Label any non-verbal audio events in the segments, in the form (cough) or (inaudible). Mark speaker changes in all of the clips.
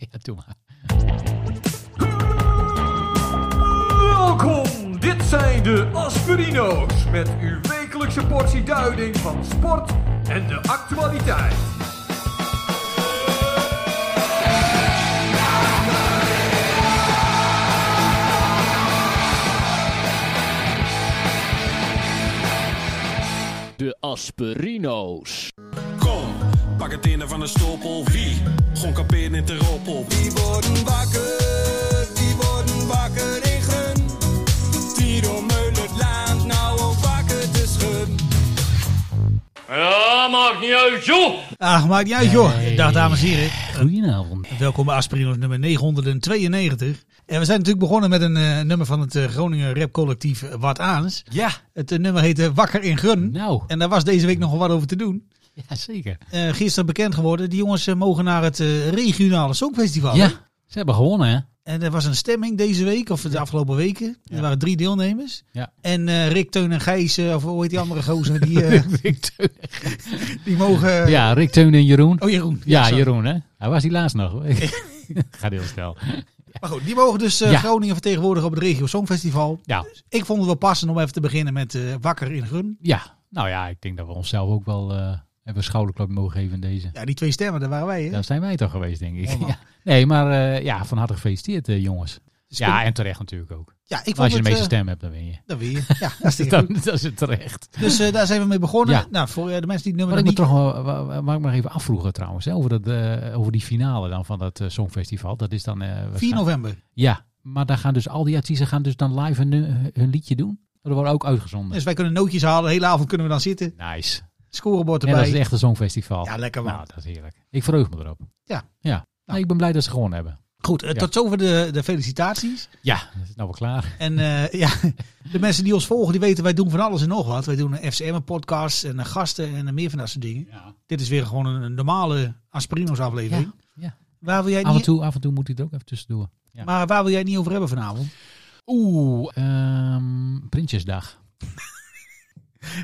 Speaker 1: (laughs) Ja, doe maar.
Speaker 2: Welkom, dit zijn de Aspirino's met uw wekelijkse portie duiding van sport en de actualiteit.
Speaker 3: De Asperino's.
Speaker 4: Kom, pak het in van de stoppel. Wie? Gewoon kaperen in de roppel.
Speaker 5: Die worden wakker, die worden wakker in gun. Tiro Meulert laat nou ook wakker te schudden.
Speaker 6: Ja, maakt niet uit, joh!
Speaker 7: Ah, maakt niet uit joh. Dag dames en heren.
Speaker 1: Goedenavond.
Speaker 7: Welkom bij Aspirino's nummer 992. En we zijn natuurlijk begonnen met een eh, nummer van het eh, Groningen rap collectief eh, Wat Aans.
Speaker 1: Ja,
Speaker 7: Het eh, nummer heette Wakker in Gun.
Speaker 1: nou.
Speaker 7: En daar was deze week nogal wat over te doen.
Speaker 1: (laughs) Ja, zeker.
Speaker 7: Eh, gisteren bekend geworden, die jongens eh, mogen naar het eh, regionale songfestival. hè?
Speaker 1: Ja, ze hebben gewonnen, hè?
Speaker 7: En er was een stemming deze week, of de afgelopen weken.
Speaker 1: Ja.
Speaker 7: Er waren drie deelnemers.
Speaker 1: Ja.
Speaker 7: En eh, Rick, Teun en Gijs, eh, of hoe heet die andere gozer,
Speaker 1: (laughs)
Speaker 7: die, eh,
Speaker 1: (laughs) Rick Teun.
Speaker 7: die mogen...
Speaker 1: Ja, Rick Teun en Jeroen.
Speaker 7: Oh, Jeroen.
Speaker 1: Ja,
Speaker 7: sorry.
Speaker 1: Jeroen, hè? Hij was die laatst nog. (laughs) hoor. Gaat heel snel.
Speaker 7: Maar goed, die mogen dus eh,
Speaker 1: Ja.
Speaker 7: Groningen vertegenwoordigen op het Regio Songfestival.
Speaker 1: Ja,
Speaker 7: Ik vond het wel passend om even te beginnen met eh, Wakker in Gun.
Speaker 1: ja, nou ja, ik denk dat we onszelf ook wel eh, hebben een schouderklap mogen geven in deze.
Speaker 7: Ja, die twee stemmen, daar waren wij. Hè?
Speaker 1: Daar zijn wij toch geweest, denk ik.
Speaker 7: Mooi,
Speaker 1: (laughs)
Speaker 7: man.
Speaker 1: Ja. Nee, maar eh, ja, van harte gefeliciteerd, eh, jongens.
Speaker 7: Dus
Speaker 1: Ja,
Speaker 7: ik-
Speaker 1: en terecht natuurlijk ook.
Speaker 7: ja, ik vond
Speaker 1: Als je de
Speaker 7: het,
Speaker 1: meeste
Speaker 7: eh,
Speaker 1: stem hebt, dan win je. (laughs)
Speaker 7: Dat weer. Ja, hartstikke
Speaker 1: Dan,
Speaker 7: goed.
Speaker 1: dat is het terecht.
Speaker 7: Dus eh, daar zijn we mee begonnen.
Speaker 1: Ja.
Speaker 7: Nou, voor eh, de mensen die het nummer
Speaker 1: Wat ik
Speaker 7: nog
Speaker 1: me
Speaker 7: niet...
Speaker 1: toch wel, wa- wa- waar ik me nog even afvroeg trouwens, hè, over, dat, eh, over die finale dan van dat eh, Songfestival. Dat is dan... eh,
Speaker 7: 4
Speaker 1: waarschijnlijk-
Speaker 7: november.
Speaker 1: Ja, maar daar gaan dus al die artiesten gaan dus dan live hun, hun liedje doen. Dat wordt ook uitgezonden.
Speaker 7: Dus wij kunnen nootjes halen. De hele avond kunnen we dan zitten.
Speaker 1: Nice.
Speaker 7: Scorebord
Speaker 1: Ja, dat is
Speaker 7: erbij.
Speaker 1: echt een songfestival.
Speaker 7: Ja, lekker man.
Speaker 1: Nou, dat is heerlijk. Ik verheug me erop.
Speaker 7: Ja. Nou.
Speaker 1: ja. Nee, ik ben blij dat ze gewonnen hebben.
Speaker 7: Goed, eh,
Speaker 1: Ja.
Speaker 7: tot zover de, de felicitaties.
Speaker 1: Ja, dat is nou wel klaar.
Speaker 7: En eh, ja, de mensen die ons volgen, die weten wij doen van alles en nog wat. Wij doen een FCM-podcast en eh, gasten en eh, meer van dat soort dingen.
Speaker 1: Ja.
Speaker 7: Dit is weer gewoon een, een normale Aspirino's aflevering.
Speaker 1: Ja, ja.
Speaker 7: Waar wil jij het
Speaker 1: Af, en
Speaker 7: niet,
Speaker 1: toe, af en toe moet hij er ook even tussendoor. ja.
Speaker 7: Maar waar wil jij het niet over hebben vanavond?
Speaker 1: Oeh, ehm, Prinsjesdag.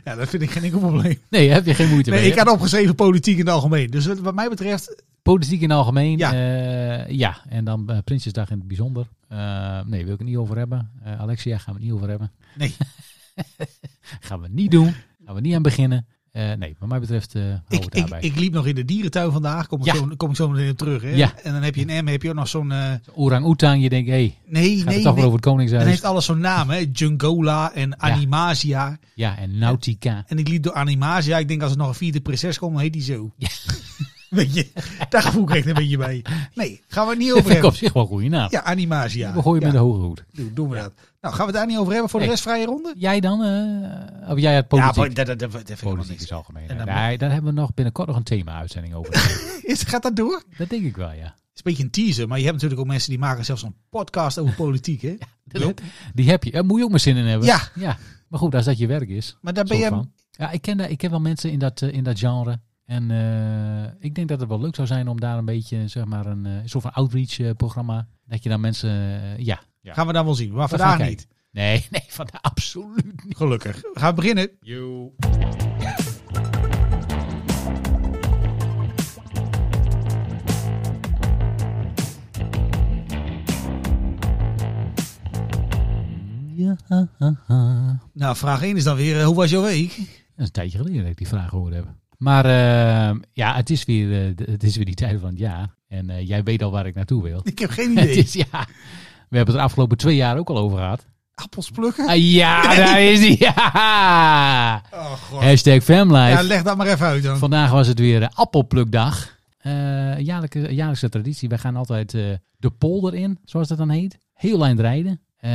Speaker 7: Ja, dat vind ik geen enkel probleem.
Speaker 1: Nee, heb je geen moeite
Speaker 7: Nee,
Speaker 1: mee.
Speaker 7: ik
Speaker 1: hè?
Speaker 7: had opgeschreven politiek in het algemeen. Dus wat- wat mij betreft,
Speaker 1: Politiek in het algemeen.
Speaker 7: Ja.
Speaker 1: Ja. ja, en dan eh, Prinsjesdag in het bijzonder. Eh, nee, wil ik het niet over hebben. Eh, Alexia, gaan we het niet over hebben.
Speaker 7: Nee.
Speaker 1: (laughs) gaan we niet doen. Gaan we niet aan beginnen. Eh, nee, wat mij betreft eh houden we
Speaker 7: ik,
Speaker 1: het
Speaker 7: ik,
Speaker 1: daarbij.
Speaker 7: ik liep nog in de dierentuin vandaag. Kom ik,
Speaker 1: Ja.
Speaker 7: zo, kom ik zo meteen op terug. Hè?
Speaker 1: Ja.
Speaker 7: En dan heb je in Emmen heb je ook nog zo'n... eh,
Speaker 1: Orang-Oetang, je denkt, hé, hey, gaat
Speaker 7: nee,
Speaker 1: het
Speaker 7: nee,
Speaker 1: toch
Speaker 7: nee.
Speaker 1: wel over het
Speaker 7: Dan
Speaker 1: Koningshuis?
Speaker 7: heeft alles zo'n naam, hè? Jungola en Animasia.
Speaker 1: Ja, en Nautica.
Speaker 7: En ik liep door Animasia. Ik denk als er nog een vierde prinses komt, dan heet die zo. (laughs) Weet je, daar voel ik echt een beetje bij. Nee, gaan we het niet
Speaker 1: (laughs) Dat vind ik
Speaker 7: over
Speaker 1: op
Speaker 7: hebben.
Speaker 1: zich wel een goede naam.
Speaker 7: Ja, Animasia.
Speaker 1: We gooien
Speaker 7: ja.
Speaker 1: met de hoge hoed.
Speaker 7: Doe- Doen we dat. Nou, gaan we het daar niet over hebben voor de
Speaker 1: Nee.
Speaker 7: rest vrije ronde?
Speaker 1: Jij dan? eh, of jij het politiek?
Speaker 7: Ja, maar dat, dat, dat, dat vind ik wel
Speaker 1: politiek
Speaker 7: niks.
Speaker 1: is algemeen.
Speaker 7: En dan-
Speaker 1: nee, daar hebben we nog binnenkort nog een thema-uitzending
Speaker 7: (laughs)
Speaker 1: over.
Speaker 7: Is, gaat dat door? Het
Speaker 1: dat denk ik wel, ja.
Speaker 7: is een beetje een teaser, maar je hebt natuurlijk ook mensen die maken zelfs een podcast over politiek, (laughs) hè? Joop.
Speaker 1: Die heb je. Daar moet je ook maar zin in hebben.
Speaker 7: Ja.
Speaker 1: ja. Maar goed, als dat je werk is.
Speaker 7: Maar daar ben
Speaker 1: soort
Speaker 7: jij...
Speaker 1: van. Ja, ik ken, daar- ik ken wel mensen in dat, eh, in dat genre. En eh, ik denk dat het wel leuk zou zijn om daar een beetje, zeg maar, een eh, soort van outreach-programma. Dat je dan mensen, eh, ja. Ja.
Speaker 7: Gaan we dan wel zien, maar
Speaker 1: we
Speaker 7: vandaag
Speaker 1: kijken.
Speaker 7: niet.
Speaker 1: Nee, (laughs) nee, van absoluut niet.
Speaker 7: Gelukkig. We gaan beginnen.
Speaker 1: Ja, ha, ha, ha.
Speaker 7: Nou, vraag 1 is dan weer, eh, hoe was jouw week? (laughs)
Speaker 1: Dat is een tijdje geleden dat ik die vraag gehoord heb. Maar eh, ja, het is, weer, eh, de- het is weer die tijd van het jaar. En eh, jij weet al waar ik naartoe wil.
Speaker 7: Ik heb
Speaker 1: (laughs)
Speaker 7: geen
Speaker 1: Het
Speaker 7: idee.
Speaker 1: is, ja, we hebben het er afgelopen twee jaar ook al over gehad.
Speaker 7: Appels plukken?
Speaker 1: Ah, ja, daar is die. (laughs) Ja.
Speaker 7: Oh, god.
Speaker 1: Hashtag
Speaker 7: Ja,
Speaker 1: FamLife.
Speaker 7: leg dat maar even uit dan.
Speaker 1: Vandaag was het weer eh, appelplukdag. Eh jaarlijkse, jaarlijkse traditie. Wij gaan altijd eh, de polder in, zoals dat dan heet. Heel eind rijden. Eh,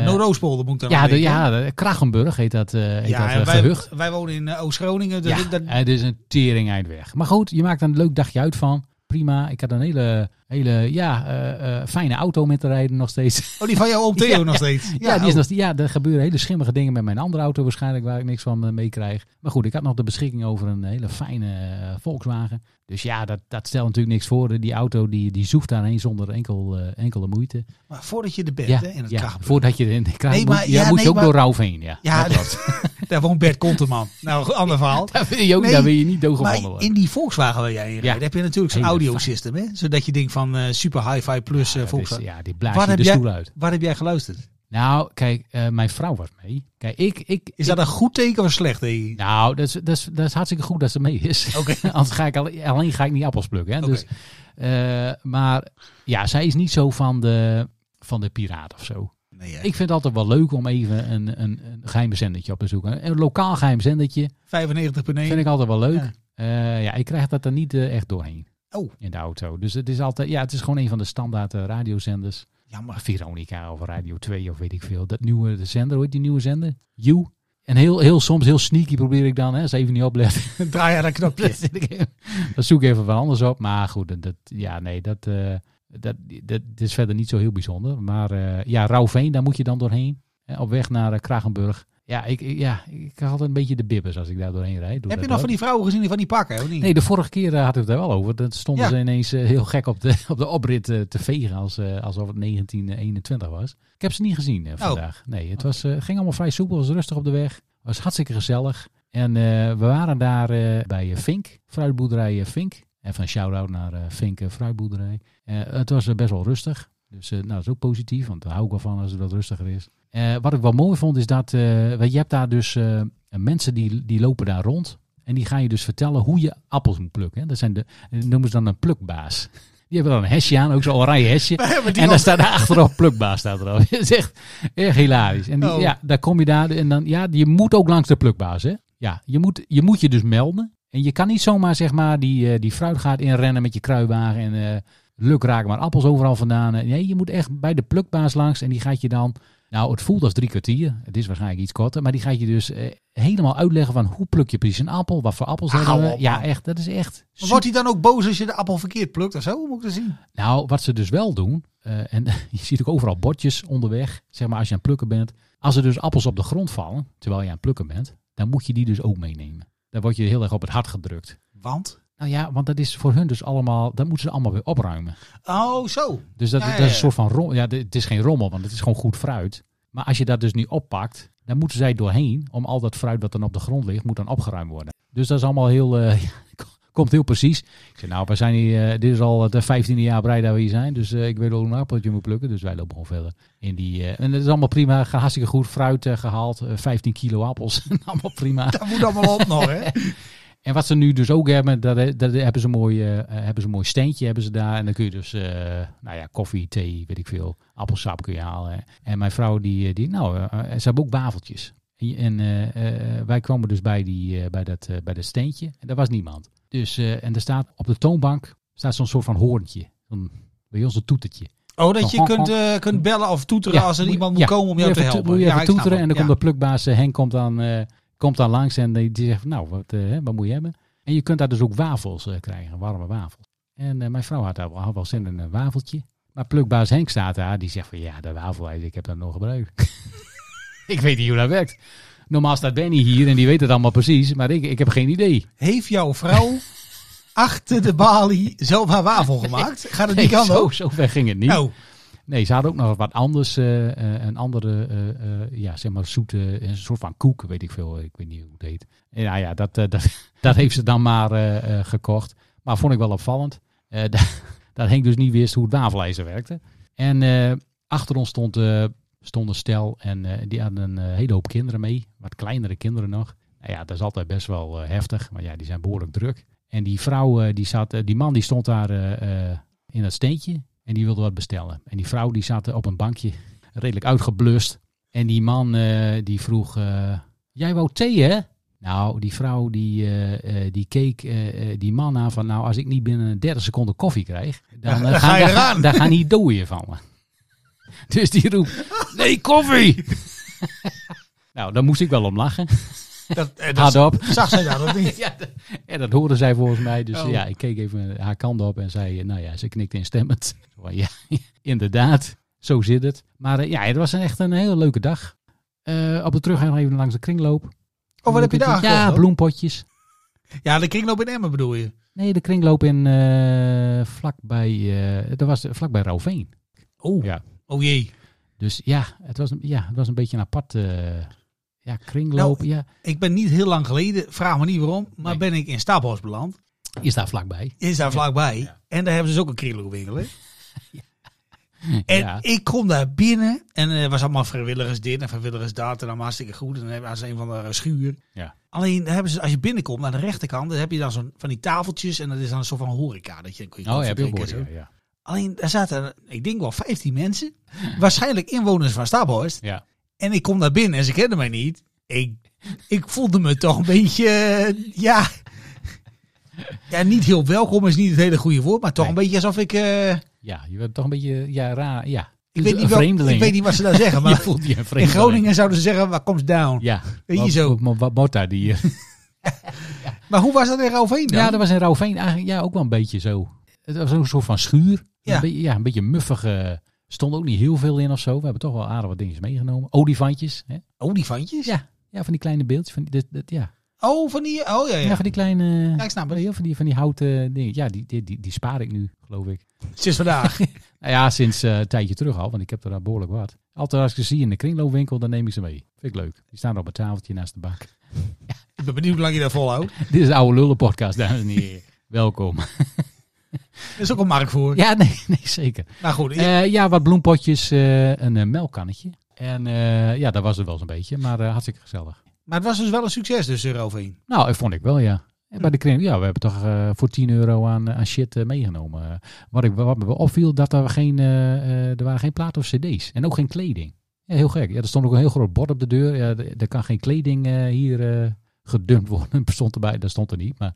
Speaker 7: Uh, no Roospolder moet ik dan
Speaker 1: ja,
Speaker 7: aan
Speaker 1: de,
Speaker 7: denken.
Speaker 1: ja, de- Krachenburg heet dat, eh heet
Speaker 7: Ja,
Speaker 1: dat eh,
Speaker 7: en wij,
Speaker 1: gehucht.
Speaker 7: wij wonen in eh, Oost-Groningen. Dus
Speaker 1: ja,
Speaker 7: ik- dat-
Speaker 1: het is een tering eind weg. Maar goed, je maakt er een leuk dagje uit van. Prima. Ik had een hele, hele ja, eh, eh, fijne auto met te rijden nog steeds.
Speaker 7: Oh, die van jou oom Theo nog steeds.
Speaker 1: (laughs) Ja, die is
Speaker 7: oh.
Speaker 1: nog, ja, er gebeuren hele schimmige dingen met mijn andere auto waarschijnlijk waar ik niks van eh, meekrijg. Maar goed, ik had nog de beschikking over een hele fijne eh, Volkswagen. Dus ja, dat, dat stelt natuurlijk niks voor. Die auto die, die zoeft daarheen zonder enkel, eh, enkele moeite.
Speaker 7: Maar voordat je er bent,
Speaker 1: ja,
Speaker 7: hè, in het
Speaker 1: ja,
Speaker 7: Krachtenburg.
Speaker 1: voordat je erin krijgt,
Speaker 7: Nee,
Speaker 1: moet,
Speaker 7: maar-
Speaker 1: ja,
Speaker 7: ja,
Speaker 1: moet
Speaker 7: nee,
Speaker 1: je ook
Speaker 7: maar-
Speaker 1: door Rauf heen. Ja,
Speaker 7: Ja,
Speaker 1: dat klopt. (laughs)
Speaker 7: (laughs) daar woont Bert Konteman. Nou, een ander verhaal.
Speaker 1: Daar wil je ook
Speaker 7: Nee,
Speaker 1: daar wil je niet doorgevallen
Speaker 7: Maar
Speaker 1: worden.
Speaker 7: in die Volkswagen waar jij in rijdt,
Speaker 1: Ja.
Speaker 7: heb je natuurlijk zo'n
Speaker 1: Hele
Speaker 7: audio-system. Hè? Zodat je denkt van, van eh, Super Hi-Fi Plus eh
Speaker 1: Ja, dus,
Speaker 7: Volkswagen.
Speaker 1: ja, die
Speaker 7: Waar
Speaker 1: blaast je
Speaker 7: heb
Speaker 1: de
Speaker 7: jij-
Speaker 1: stoel uit.
Speaker 7: Waar heb jij geluisterd?
Speaker 1: Nou, kijk, eh, mijn vrouw was mee. Kijk, ik... ik
Speaker 7: Is dat een goed teken of een slecht teken?
Speaker 1: Nou, dat is, dat, is, dat is hartstikke goed dat ze mee is.
Speaker 7: Oké.
Speaker 1: (laughs) Anders ga ik alleen, alleen ga ik niet appels plukken. Hè?
Speaker 7: Oké.
Speaker 1: Dus, eh, maar ja, zij is niet zo van de, van de piraat of zo.
Speaker 7: Nee, hè.
Speaker 1: Ik vind het altijd wel leuk om even een, een, een geheim zendertje op te zoeken. Een lokaal geheim zendertje
Speaker 7: 95,9.
Speaker 1: vind ik altijd wel leuk.
Speaker 7: Ja.
Speaker 1: Eh, ja, ik krijg dat er niet eh, echt doorheen
Speaker 7: Oh.
Speaker 1: in de auto. Dus het is altijd, ja, het is gewoon een van de standaard eh, radiozenders. Eh,
Speaker 7: Jammer.
Speaker 1: Veronica of Radio 2 of weet ik veel. Dat nieuwe de zender, hoe heet die nieuwe zender? You. En heel, heel soms, heel sneaky probeer ik dan, hè, als even niet oplet.
Speaker 7: Draai aan dat
Speaker 1: (laughs)
Speaker 7: knopje.
Speaker 1: Dan zit ik even- dan zoek ik even wat anders op. Maar goed, dat- dat, ja, nee, dat, eh, dat, dat, dat is verder niet zo heel bijzonder. Maar eh, ja, Rauwveen, daar moet je dan doorheen. Hè, op weg naar eh, Kragenburg. Ja ik, ik- ja, ik had altijd een beetje de bibbers als ik daar doorheen rijd. Doe dat
Speaker 7: Heb je nog
Speaker 1: ook.
Speaker 7: van die vrouwen gezien die van die pakken? Of niet? (laughs)
Speaker 1: Nee, de vorige keer eh, hadden we het daar wel over. Dat stonden
Speaker 7: Ja.
Speaker 1: ze ineens eh, heel gek op de, (laughs) op de oprit eh, te vegen als, eh, alsof het 1921 was. Ik heb ze niet gezien
Speaker 7: Oh.
Speaker 1: eh, vandaag. Nee, het was, eh, ging allemaal vrij soepel. was rustig op de weg. was hartstikke gezellig. En eh, we waren daar eh, bij eh, Vink, fruitboerderij eh, Vink. Even een shout-out naar eh, Vink eh, Fruitboerderij. Eh, het was eh, best wel rustig. Dus eh, nou, dat is ook positief, want daar hou ik wel van als het wat rustiger is. Eh, wat ik wel mooi vond is dat, eh, weet je je hebt daar dus eh, mensen die, die lopen daar rond. En die ga je dus vertellen hoe je appels moet plukken. Hè. Dat, zijn de, dat noemen ze dan een plukbaas. (laughs) Die hebben dan een hesje aan, ook zo'n oranje hesje.
Speaker 7: hebben die
Speaker 1: en daar
Speaker 7: al-
Speaker 1: staat achterop plukbaas staat erop. (laughs) Dat is echt, echt hilarisch. En die,
Speaker 7: Oh.
Speaker 1: ja, daar kom je daar en dan, ja, je moet ook langs de plukbaas. Hè? Ja, je moet, je moet je dus melden. En je kan niet zomaar zeg maar die, eh, die fruitgaat inrennen met je kruiwagen en eh, luk raak maar appels overal vandaan. Eh, Nee, je moet echt bij de plukbaas langs en die gaat je dan, nou het voelt als drie kwartier, het is waarschijnlijk iets korter, maar die gaat je dus eh, helemaal uitleggen van hoe pluk je precies een appel, wat voor appels
Speaker 7: Hou
Speaker 1: hebben we.
Speaker 7: op,
Speaker 1: ja,
Speaker 7: man.
Speaker 1: echt, dat is echt
Speaker 7: Maar Wordt hij dan ook boos als je de appel verkeerd plukt of zo? Hoe Moet ik dat zien?
Speaker 1: nou, wat ze dus wel doen, eh, en (laughs) je ziet ook overal bordjes onderweg, zeg maar als je aan het plukken bent. Als er dus appels op de grond vallen, terwijl je aan het plukken bent, dan moet je die dus ook meenemen. Dan word je heel erg op het hart gedrukt.
Speaker 7: Want?
Speaker 1: Nou ja, want dat is voor hun dus allemaal, dat moeten ze allemaal weer opruimen.
Speaker 7: Oh, zo.
Speaker 1: Dus dat,
Speaker 7: Ja,
Speaker 1: dat
Speaker 7: ja,
Speaker 1: is
Speaker 7: ja.
Speaker 1: een soort van rommel. Ja, dit- het is geen rommel, want het is gewoon goed fruit. Maar als je dat dus niet oppakt, dan moeten zij doorheen om al dat fruit wat dan op de grond ligt, moet dan opgeruimd worden. Dus dat is allemaal heel, eh, (laughs) komt heel precies. Ik zei, nou, we zijn hier, eh, dit is al het vijftiende jaar breid dat we hier zijn, dus eh, ik weet ook een appeltje moet plukken. Dus wij lopen gewoon verder. In die, eh, en het is allemaal prima, ge- hartstikke goed fruit eh, gehaald, eh, 15 kilo appels, (laughs) allemaal prima.
Speaker 7: Dat moet allemaal op nog, hè?
Speaker 1: En wat ze nu dus ook hebben, daar, daar hebben, ze een mooi, eh, eh, hebben ze een mooi steentje hebben ze daar. En dan kun je dus eh, nou ja, koffie, thee, weet ik veel, appelsap kun je halen. En mijn vrouw, die, eh, die nou, eh, eh, ze hebben ook wafeltjes. En, en, eh, eh, wij kwamen dus bij, die, eh, bij, dat, eh, bij dat steentje en daar was niemand. Dus, eh, en er staat op de toonbank staat zo'n soort van hoorntje. Zo'n- bij ons een toetertje.
Speaker 7: Oh, dat je
Speaker 1: Honk,
Speaker 7: kunt,
Speaker 1: honk.
Speaker 7: eh, kunt bellen of toeteren als er
Speaker 1: moet-
Speaker 7: iemand moet
Speaker 1: ja,
Speaker 7: komen om jou
Speaker 1: je
Speaker 7: te
Speaker 1: even
Speaker 7: helpen.
Speaker 1: Moet je
Speaker 7: Ja,
Speaker 1: even
Speaker 7: ik snap
Speaker 1: toeteren en
Speaker 7: het.
Speaker 1: dan
Speaker 7: Ja.
Speaker 1: komt de plukbaas eh, Henk komt dan, eh, komt dan langs en die, die zegt, nou, wat, eh, hè, wat moet je hebben? En je kunt daar dus ook wafels eh, krijgen, warme wafels. En eh, mijn vrouw had, daar wel- had wel zin in een wafeltje. Maar plukbaas Henk staat daar, die zegt van, ja, de wafel, hij zegt, ik heb dat nog gebruikt. (laughs) ik weet niet hoe dat werkt. Normaal staat Benny hier en die weet het allemaal precies, maar ik, ik heb geen idee.
Speaker 7: Heeft jouw vrouw (laughs) achter de balie zomaar wafel gemaakt? Gaat het
Speaker 1: Nee,
Speaker 7: niet kan
Speaker 1: (laughs) zo,
Speaker 7: ook?
Speaker 1: zo ver ging het niet.
Speaker 7: Nou,
Speaker 1: Nee, ze hadden ook nog wat anders. eh, eh, een andere, eh, eh, ja, zeg maar zoete, een soort van koek, weet ik veel. Ik weet niet hoe het heet. En nou ja, dat, eh, (laughs) dat, dat heeft ze dan maar eh, eh, gekocht. Maar vond ik wel opvallend. eh, (laughs) dat, dat Henk dus niet wist hoe het wafelijzer werkte. En eh, achter ons stond, eh, stond een stel en eh, die hadden een eh, hele hoop kinderen mee. Wat kleinere kinderen nog. Nou ja, dat is altijd best wel eh, heftig. Maar ja, die zijn behoorlijk druk. En die vrouw, eh, die, zat, eh, die man die stond daar eh, eh, in dat steentje. En die wilde wat bestellen. En die vrouw die zat op een bankje, redelijk uitgeblust. En die man eh, die vroeg, eh, jij wou thee hè? Nou, die vrouw die, eh, eh, die keek eh, eh, die man aan van, nou als ik niet binnen 30 seconden koffie krijg,
Speaker 7: (laughs)
Speaker 1: dan, eh,
Speaker 7: dan ga je
Speaker 1: dan
Speaker 7: eraan.
Speaker 1: Dan gaan die dooien van me. (laughs) Dus die roept, nee koffie! (laughs) nou, daar moest ik wel om lachen.
Speaker 7: dat, eh, dat
Speaker 1: Hard op.
Speaker 7: zag zij daar dat niet.
Speaker 1: (laughs) Ja, d- en dat hoorde zij volgens mij. Dus
Speaker 7: Oh.
Speaker 1: ja, ik keek even haar kant op en zei, eh, nou ja, ze knikte instemmend. (laughs) Zo van, Ja, inderdaad, zo zit het. Maar eh, ja, het was een echt een hele leuke dag. Eh, op de terugweg nog even langs de kringloop.
Speaker 7: Oh, wat heb je daar gekocht,
Speaker 1: Ja,
Speaker 7: hoor?
Speaker 1: bloempotjes.
Speaker 7: Ja, de kringloop in Emmen bedoel je?
Speaker 1: Nee, de kringloop in eh vlakbij, eh dat was vlakbij Rouwveen.
Speaker 7: Oh,
Speaker 1: Ja.
Speaker 7: oh jee.
Speaker 1: Dus ja het, was, een- ja, het was een beetje een apart eh, ja, kringloop.
Speaker 7: Nou,
Speaker 1: ja,
Speaker 7: Ik ben niet heel lang geleden, vraag me niet waarom, maar
Speaker 1: Nee.
Speaker 7: ben ik in Stapels beland.
Speaker 1: is daar vlakbij.
Speaker 7: Is daar vlakbij. En daar hebben ze dus ook een kringloopwinkel,
Speaker 1: (laughs)
Speaker 7: hè? En
Speaker 1: Ja.
Speaker 7: ik kom daar binnen en er was allemaal vrijwilligers dit en vrijwilligers dat. En allemaal hartstikke goed. En dan hebben ze een van de eh, schuur.
Speaker 1: Ja.
Speaker 7: Alleen daar hebben ze, als je binnenkomt aan de rechterkant, dan heb je dan zo'n van die tafeltjes. En dat is dan een soort van horeca. Dat je, kun je
Speaker 1: Oh
Speaker 7: koffie
Speaker 1: ja,
Speaker 7: drinken
Speaker 1: billboard.
Speaker 7: en
Speaker 1: Ja,
Speaker 7: zo.
Speaker 1: ja.
Speaker 7: Alleen daar zaten, ik denk wel 15 mensen. Waarschijnlijk inwoners van Staphorst.
Speaker 1: ja.
Speaker 7: En ik kom daar binnen en ze kenden mij niet. Ik, ik voelde me toch een beetje, eh, ja... Ja, niet heel welkom is niet het hele goede woord, maar toch
Speaker 1: Nee.
Speaker 7: een beetje alsof ik... eh,
Speaker 1: Ja, je bent toch een beetje ja, raar. Ja.
Speaker 7: ik, weet
Speaker 1: Een
Speaker 7: niet wel,
Speaker 1: vreemdeling.
Speaker 7: ik weet niet wat ze daar
Speaker 1: (laughs)
Speaker 7: zeggen,
Speaker 1: Je
Speaker 7: maar
Speaker 1: voelt je een
Speaker 7: in
Speaker 1: vreemdeling.
Speaker 7: Groningen zouden ze zeggen, waar komt down?
Speaker 1: Ja.
Speaker 7: Weet je
Speaker 1: Wat-
Speaker 7: zo.
Speaker 1: wat- Wat Motta die... eh,
Speaker 7: Maar hoe was dat in Rouwveen dan?
Speaker 1: Ja, dat was in Rauwveen eigenlijk ja, ook wel een beetje zo. Het was ook een soort van schuur.
Speaker 7: Ja.
Speaker 1: Een beetje, ja, een beetje muffig. eh, stond ook niet heel veel in of zo. We hebben toch wel aardig wat dingetjes meegenomen. Olifantjes. Hè?
Speaker 7: Oh, Olifantjes?
Speaker 1: Ja. Ja, van die kleine beeldjes. Van die, dat, dat- ja.
Speaker 7: Oh, van die... Oh, ja,
Speaker 1: Ja.
Speaker 7: ja.
Speaker 1: van die kleine...
Speaker 7: Ja, ik snap het.
Speaker 1: Heel van die, van die houten dingen. Ja, die, die, die, die spaar ik nu, geloof ik.
Speaker 7: Sinds
Speaker 1: (laughs)
Speaker 7: vandaag.
Speaker 1: Nou ja, sinds eh, een tijdje terug al, want ik heb er al behoorlijk wat. Altijd als ik ze zie in de kringloopwinkel, dan neem ik ze mee. Vind ik leuk. Die staan er op een tafeltje naast de bak.
Speaker 7: ik ben benieuwd hoe lang je dat volhoudt.
Speaker 1: (laughs) Dit is de Oude Lullen podcast, dames en heren. Welkom.
Speaker 7: Er is ook een markt voor.
Speaker 1: Ja, nee, (laughs) nee zeker.
Speaker 7: Maar goed, ik-
Speaker 1: Eh, ja, wat bloempotjes, eh, een eh, melkkannetje. En eh, ja, dat was het wel eens een beetje, maar eh, hartstikke gezellig.
Speaker 7: maar het was dus wel een succes dus, in Rouwveen.
Speaker 1: Nou, dat vond ik wel, ja. En Bij de kring, ja, we hebben toch eh, voor 10 euro aan, aan shit eh, meegenomen. Eh, wat, ik, wat me wel opviel, dat er, geen, eh, eh, er waren geen platen of cd's. En ook geen kleding. Ja, heel gek. Ja, er stond ook een heel groot bord op de deur. Ja, d- er kan geen kleding eh, hier eh, gedumpt worden. (laughs) Stond erbij, dat stond er niet. Maar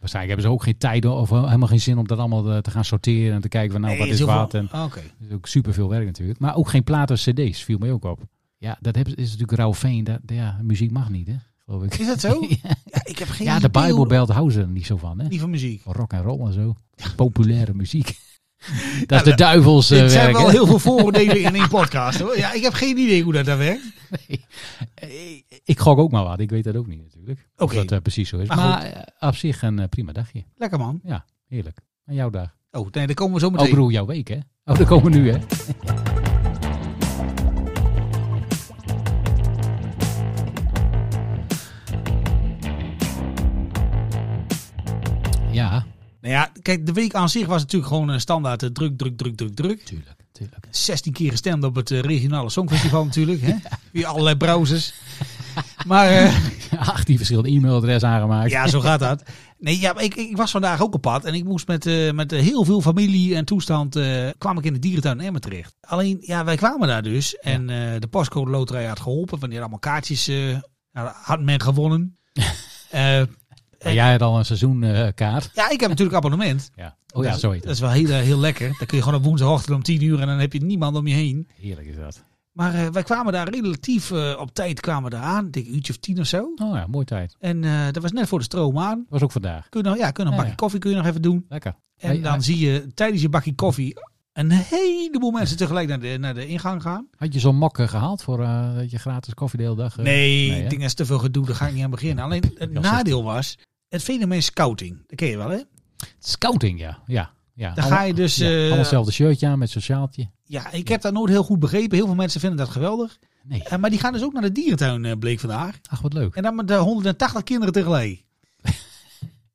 Speaker 1: waarschijnlijk hebben ze ook geen tijd of helemaal geen zin om dat allemaal eh, te gaan sorteren. En te kijken van nou,
Speaker 7: Nee,
Speaker 1: wat is
Speaker 7: heel
Speaker 1: wat.
Speaker 7: veel-
Speaker 1: En,
Speaker 7: Ah, Oké.
Speaker 1: Dat is ook super veel werk natuurlijk. Maar ook geen platen of cd's, viel mij ook op. Ja, dat hebben ze- is natuurlijk rauw veen. Dat, ja, muziek mag niet, hè? Geloof ik.
Speaker 7: Is dat zo? Ja, ik heb
Speaker 1: (laughs)
Speaker 7: geen
Speaker 1: Ja, de
Speaker 7: idee
Speaker 1: Bijbel
Speaker 7: hoe-
Speaker 1: belt houden er niet zo van, hè?
Speaker 7: Niet van muziek.
Speaker 1: Van rock en roll en zo. Populaire (laughs) muziek. Dat
Speaker 7: dat-
Speaker 1: is de duivels eh,
Speaker 7: Er zijn
Speaker 1: werk,
Speaker 7: wel
Speaker 1: hè? (laughs)
Speaker 7: heel veel vooroordelen in één podcast. Hoor. Ja, ik heb geen idee hoe dat daar werkt.
Speaker 1: Eh, Ik gok ook maar wat. Ik weet dat ook niet natuurlijk. Of
Speaker 7: Oké.
Speaker 1: dat eh, precies zo is.
Speaker 7: Maar
Speaker 1: Maar, eh, op zich een eh, prima dagje.
Speaker 7: Lekker man.
Speaker 1: Heerlijk. En jouw dag.
Speaker 7: Oh, nee, daar komen we zo
Speaker 1: Oh,
Speaker 7: meteen.
Speaker 1: ik bedoel jouw week, hè? Oh, daar komen we nu, hè? Ja,
Speaker 7: Nou ja, kijk, de week aan zich was natuurlijk gewoon een standaard eh, druk, druk, druk, druk, druk.
Speaker 1: tuurlijk, (laughs) tuurlijk.
Speaker 7: 16 keer gestemd op het eh, regionale songfestival natuurlijk.
Speaker 1: (laughs)
Speaker 7: Hè? Via allerlei browsers. Maar eh,
Speaker 1: 18 verschillende e-mailadressen aangemaakt.
Speaker 7: ja, zo gaat dat. Nee, ja, maar ik, ik was vandaag ook op pad en ik moest met, eh, met heel veel familie en toestand eh, kwam ik in de dierentuin Emmen terecht. Alleen, ja, wij kwamen daar dus en eh, de postcode loterij had geholpen. Wanneer allemaal kaartjes eh, nou, had men
Speaker 1: (laughs)
Speaker 7: gewonnen. Eh,
Speaker 1: Maar jij had al een seizoenkaart.
Speaker 7: ja, ik heb natuurlijk abonnement.
Speaker 1: ja. Oh ja,
Speaker 7: dat,
Speaker 1: zo
Speaker 7: is,
Speaker 1: heet
Speaker 7: dat
Speaker 1: het.
Speaker 7: is wel heel, eh, heel lekker. Dan kun je gewoon op woensdagochtend om 10 uur en dan heb je niemand om je heen.
Speaker 1: (laughs) Heerlijk is dat.
Speaker 7: Maar eh, wij kwamen daar relatief eh, op tijd kwamen we eraan. Ik denk een uurtje of tien of zo.
Speaker 1: Oh ja, mooi tijd.
Speaker 7: En eh, dat was net voor de stroom aan.
Speaker 1: Was ook vandaag.
Speaker 7: Kun je nog, ja, kun je nog een
Speaker 1: Ja,
Speaker 7: bakje
Speaker 1: ja.
Speaker 7: koffie kun je nog even doen.
Speaker 1: Lekker.
Speaker 7: En
Speaker 1: Hey,
Speaker 7: dan
Speaker 1: hey.
Speaker 7: zie je tijdens je bakje koffie een heleboel mensen tegelijk naar de, naar de ingang gaan.
Speaker 1: Had je zo'n mok eh, gehaald voor eh, dat je gratis koffie de hele dag... eh,
Speaker 7: Nee,
Speaker 1: hè?
Speaker 7: ik denk dat is te veel gedoe. Daar ga ik niet aan beginnen. Alleen het
Speaker 1: Ja,
Speaker 7: nadeel was het fenomeen scouting. Dat ken je wel hè?
Speaker 1: Scouting, ja. Ja. ja.
Speaker 7: Dan ga je dus...
Speaker 1: Ja,
Speaker 7: eh,
Speaker 1: allemaal hetzelfde shirtje aan met zo'n sjaaltje.
Speaker 7: ja, ik heb dat nooit heel goed begrepen. Heel veel mensen vinden dat geweldig.
Speaker 1: Nee.
Speaker 7: Eh, maar die gaan dus ook naar de dierentuin eh, bleek vandaag.
Speaker 1: Ach, wat leuk.
Speaker 7: En dan met eh, 180 kinderen
Speaker 1: (laughs)
Speaker 7: tegelijk.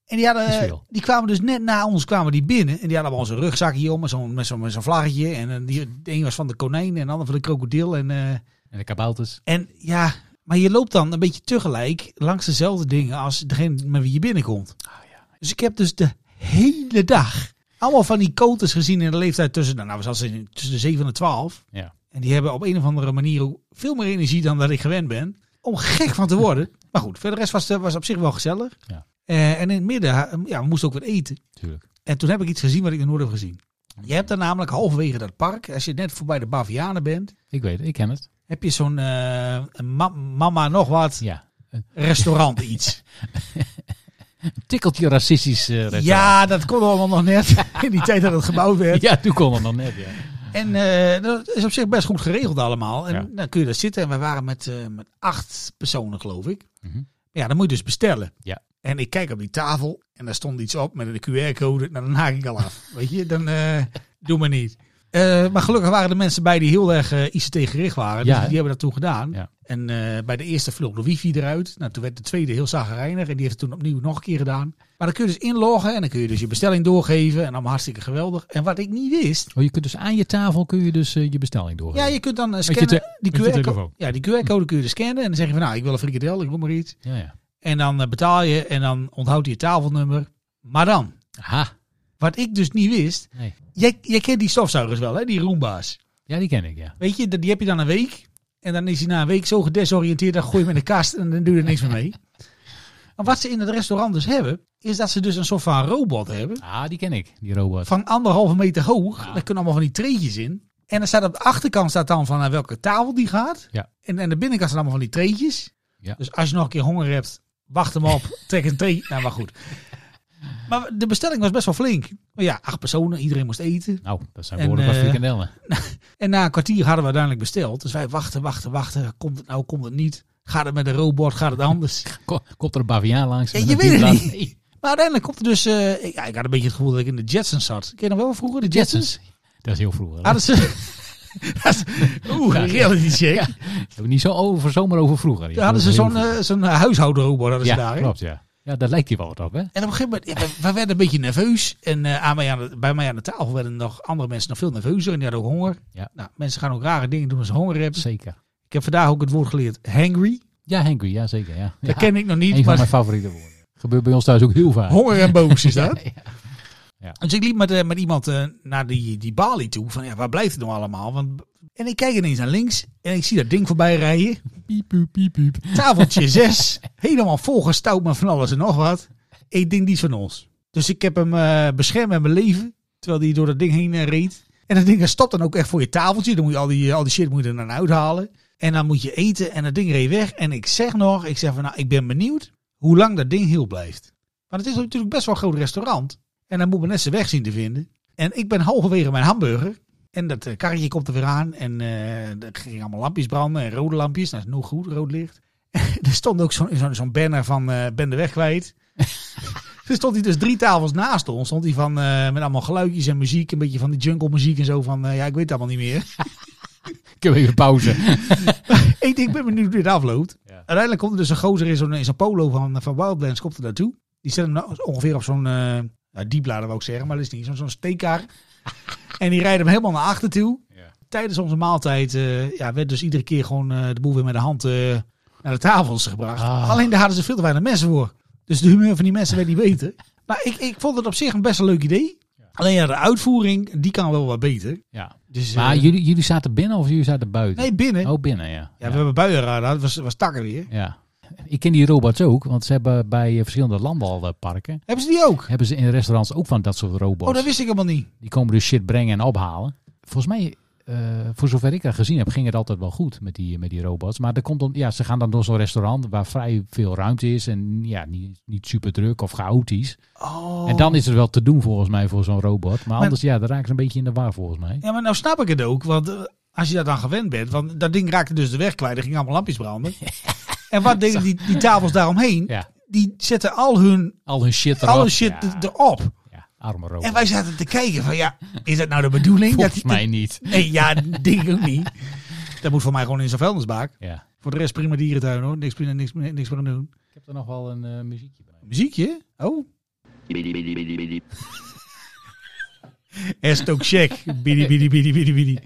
Speaker 7: en die, hadden,
Speaker 1: Is
Speaker 7: eh,
Speaker 1: veel.
Speaker 7: die kwamen dus net na ons kwamen die binnen. En die hadden allemaal zo'n rugzakje om met zo'n met zo'n met zo'n vlaggetje. En eh, die, de een was van de konijn en de ander van de krokodil. En, eh,
Speaker 1: En de kabouters.
Speaker 7: en ja, maar je loopt dan een beetje tegelijk langs dezelfde dingen als degene met wie je binnenkomt.
Speaker 1: Ah,
Speaker 7: Dus ik heb dus de hele dag allemaal van die koters gezien in de leeftijd tussen, nou, nou, was dat in- tussen de 7 en 12.
Speaker 1: Ja.
Speaker 7: En die hebben op een of andere manier ook veel meer energie dan dat ik gewend ben. Om gek van te
Speaker 1: (laughs)
Speaker 7: worden. Maar goed, voor de rest was het was op zich wel gezellig.
Speaker 1: Ja.
Speaker 7: Eh, en in het midden, ha- ja, we moesten ook wat eten.
Speaker 1: Tuurlijk.
Speaker 7: En toen heb ik iets gezien wat ik nog nooit heb gezien.
Speaker 1: Mm.
Speaker 7: Je hebt daar namelijk halverwege dat park, als je net voorbij de Bavianen bent,
Speaker 1: Ik weet het, ik ken het.
Speaker 7: heb je zo'n eh, ma- mama nog wat
Speaker 1: Ja.
Speaker 7: restaurant iets.
Speaker 1: Tikkeltje racistisch. eh, (laughs) restaurant.
Speaker 7: ja, dat kon allemaal nog net (laughs) in die tijd dat het gebouwd werd.
Speaker 1: ja, toen kon het nog net. Ja.
Speaker 7: En eh, dat is op zich best goed geregeld allemaal. En
Speaker 1: Ja.
Speaker 7: dan kun je daar zitten. En wij waren met, eh, met acht personen, geloof ik.
Speaker 1: Mhm.
Speaker 7: Ja, dan moet je dus bestellen.
Speaker 1: Ja.
Speaker 7: En ik kijk op die tafel en daar stond iets op met een QR-code. Nou, dan haak ik al af. Weet je, dan eh, doe maar niet. Eh, maar gelukkig waren er mensen bij die heel erg eh, ICT-gericht waren.
Speaker 1: Ja,
Speaker 7: dus
Speaker 1: hè?
Speaker 7: die hebben dat toen gedaan.
Speaker 1: Ja.
Speaker 7: En eh, bij de eerste vloog de wifi eruit. Nou, toen werd de tweede heel zagrijnig. En die heeft het toen opnieuw nog een keer gedaan. Maar dan kun je dus inloggen en dan kun je dus je bestelling doorgeven. En allemaal hartstikke geweldig. En wat ik niet wist,
Speaker 1: Oh, je kunt dus aan je tafel kun je dus eh, je bestelling doorgeven.
Speaker 7: ja, je kunt dan eh,
Speaker 1: je
Speaker 7: scannen.
Speaker 1: te-
Speaker 7: die
Speaker 1: met je
Speaker 7: QR-code
Speaker 1: telefoon.
Speaker 7: ja, die QR-code kun je dus scannen. En dan zeg je van nou, ik wil een frikadel, ik wil maar iets.
Speaker 1: ja, ja.
Speaker 7: En dan eh, betaal je en dan onthoudt hij je tafelnummer. Maar dan,
Speaker 1: Aha.
Speaker 7: wat ik dus niet wist.
Speaker 1: Nee.
Speaker 7: Jij, jij kent die stofzuigers wel, hè? die Roomba's.
Speaker 1: Ja, die ken ik, ja.
Speaker 7: Weet je, die heb je dan een week. En dan is hij na een week zo gedesoriënteerd. Dan gooi je hem in de kast en dan doe je er niks meer
Speaker 1: (laughs)
Speaker 7: mee. Maar wat ze in het restaurant dus hebben, is dat ze dus een soort van robot hebben.
Speaker 1: Ah, die ken ik, die robot.
Speaker 7: Van anderhalve meter hoog. Daar kunnen allemaal van die treetjes in. En dan staat op de achterkant staat dan van naar welke tafel die gaat.
Speaker 1: Ja.
Speaker 7: En aan de binnenkant staan allemaal van die treetjes.
Speaker 1: Ja.
Speaker 7: Dus als je nog een keer honger hebt, wacht hem op. trek een tree. Nou, maar goed. Maar de bestelling was best wel flink. Maar ja, acht personen, iedereen moest eten.
Speaker 1: Nou, dat zijn
Speaker 7: En,
Speaker 1: woorden van
Speaker 7: eh,
Speaker 1: frikandellen.
Speaker 7: En na een kwartier hadden we uiteindelijk besteld. Dus wij wachten, wachten, wachten. Komt het nou, komt het niet? Gaat het met een robot, gaat het anders?
Speaker 1: Ko- Komt er een baviaan langs?
Speaker 7: Ja,
Speaker 1: met
Speaker 7: je
Speaker 1: een
Speaker 7: weet het
Speaker 1: piepblad?
Speaker 7: niet.
Speaker 1: Nee.
Speaker 7: Maar uiteindelijk komt er dus... eh, ja, ik had een beetje het gevoel dat ik in de Jetsons zat. Ken je nog wel vroeger, de Jetsons?
Speaker 1: Jetsons. Dat is heel vroeger. hè?
Speaker 7: Hadden ze... (laughs) Dat is- Oeh,
Speaker 1: Ja.
Speaker 7: reality check.
Speaker 1: Ja. Hebben we niet zo over, zomaar over vroeger.
Speaker 7: Daar hadden ze
Speaker 1: Heel
Speaker 7: zo'n
Speaker 1: vroeger.
Speaker 7: eh, zo'n huishoudrobot hadden ze
Speaker 1: Ja,
Speaker 7: daar. hè?
Speaker 1: klopt, ja. Ja, dat lijkt hier wel wat op, hè?
Speaker 7: En op een gegeven moment, ja, we, we werden een beetje nerveus. En eh, aan mij aan de- bij mij aan de tafel werden nog andere mensen nog veel nerveuzer. En die hadden ook honger.
Speaker 1: Ja.
Speaker 7: Nou, mensen gaan ook rare dingen doen als ze honger hebben.
Speaker 1: Zeker.
Speaker 7: Ik heb vandaag ook het woord geleerd, hangry.
Speaker 1: Ja, Henky, ja, zeker, ja.
Speaker 7: Dat
Speaker 1: Ja,
Speaker 7: ken ik nog niet,
Speaker 1: Een van
Speaker 7: maar
Speaker 1: mijn favoriete woorden. Gebeurt bij ons thuis ook heel vaak.
Speaker 7: honger en boos is dat.
Speaker 1: (laughs) Ja, ja.
Speaker 7: Dus ik liep met, eh, met iemand eh, naar die, die balie toe. Van ja, waar blijft het nou allemaal? Want, en ik kijk ineens naar links en ik zie dat ding voorbij rijden.
Speaker 1: Piep, piep, piep, piep.
Speaker 7: Tafeltje 6. Helemaal volgestouwd met van alles en nog wat. Ik denk die is van ons. Dus ik heb hem eh beschermd met mijn leven. Terwijl die door dat ding heen eh, reed. En dat ding dat stopt dan ook echt voor je tafeltje. Dan moet je al die, eh, al die shit moet je er dan uithalen. En dan moet je eten. En dat ding reed weg. En ik zeg nog, ik zeg van nou, ik ben benieuwd hoe lang dat ding heel blijft. Want het is natuurlijk best wel een groot restaurant. En dan moet men net zijn weg zien te vinden. En ik ben halverwege mijn hamburger. En dat eh, karretje komt er weer aan. En eh er gingen allemaal lampjes branden. En rode lampjes. Dat is nog goed, rood licht. (laughs) er stond ook zo'n zo'n zo'n banner van eh ben de weg kwijt. er stond hij dus drie tafels naast ons. Stond hij van, eh, met allemaal geluidjes en muziek. Een beetje van die jungle muziek en zo. Van eh, ja, ik weet het allemaal niet meer.
Speaker 1: Ik heb even pauze.
Speaker 7: ik denk, ik ben benieuwd hoe dit afloopt.
Speaker 1: Ja.
Speaker 7: Uiteindelijk komt er dus een gozer in zo'n in zo'n polo van, van Wildlands. Komt er naartoe. Die zet hem nou ongeveer op zo'n eh nou, dieplader wou ik zeggen. Maar dat is niet zo'n zo'n
Speaker 1: (laughs)
Speaker 7: steekkaar. en die rijdt hem helemaal naar achter toe.
Speaker 1: Ja.
Speaker 7: Tijdens onze maaltijd eh, ja, werd dus iedere keer gewoon eh, de boel weer met de hand eh, naar de tafels gebracht.
Speaker 1: Ah.
Speaker 7: Alleen daar hadden ze veel te weinig mensen voor. Dus de humeur van die mensen werd niet beter. Maar ik, ik vond het op zich een best een leuk idee. Alleen ja, de uitvoering, die kan wel wat beter.
Speaker 1: ja.
Speaker 7: Dus,
Speaker 1: Maar
Speaker 7: eh,
Speaker 1: jullie, jullie zaten binnen of jullie zaten buiten?
Speaker 7: Nee, binnen.
Speaker 1: Oh, binnen, ja.
Speaker 7: Ja, we hebben buienradar, dat was, was takken weer.
Speaker 1: Ja. Ik ken die robots ook, want ze hebben bij eh, verschillende landbouwparken...
Speaker 7: Hebben ze die ook?
Speaker 1: hebben ze in restaurants ook van dat soort robots.
Speaker 7: Oh, dat wist ik helemaal niet.
Speaker 1: Die komen dus shit brengen en ophalen. Volgens mij, eh, voor zover ik dat gezien heb, ging het altijd wel goed met die, met die robots. Maar er komt dan, ja, ze gaan dan door zo'n restaurant waar vrij veel ruimte is en ja, niet, niet super druk of chaotisch.
Speaker 7: Oh.
Speaker 1: En dan is het wel te doen volgens mij voor zo'n robot. Maar anders, ja, daar raken ze een beetje in de war volgens mij.
Speaker 7: Ja, maar nou snap ik het ook. Want eh, als je daar dan gewend bent, want dat ding raakte dus de weg kwijt. Er gingen allemaal lampjes
Speaker 1: (laughs)
Speaker 7: branden. en wat deden die, die tafels daaromheen?
Speaker 1: Ja,
Speaker 7: Die zetten al hun
Speaker 1: al hun shit erop.
Speaker 7: alle shit
Speaker 1: Ja,
Speaker 7: er- erop.
Speaker 1: ja, arme robot.
Speaker 7: En wij zaten te kijken van ja, is dat nou de bedoeling?
Speaker 1: volgens
Speaker 7: dat,
Speaker 1: mij niet.
Speaker 7: Nee, ja, denk ik ook niet. Dat moet voor mij gewoon in zijn vuilnisbak.
Speaker 1: Ja.
Speaker 7: Voor de rest prima dierentuin hoor. Niks, prima- niks, niks meer aan doen.
Speaker 1: Ik heb er nog wel een eh, muziekje bij.
Speaker 7: Muziekje? Oh. Estok check. Bidi, bidi, bidi, bidi, bidi.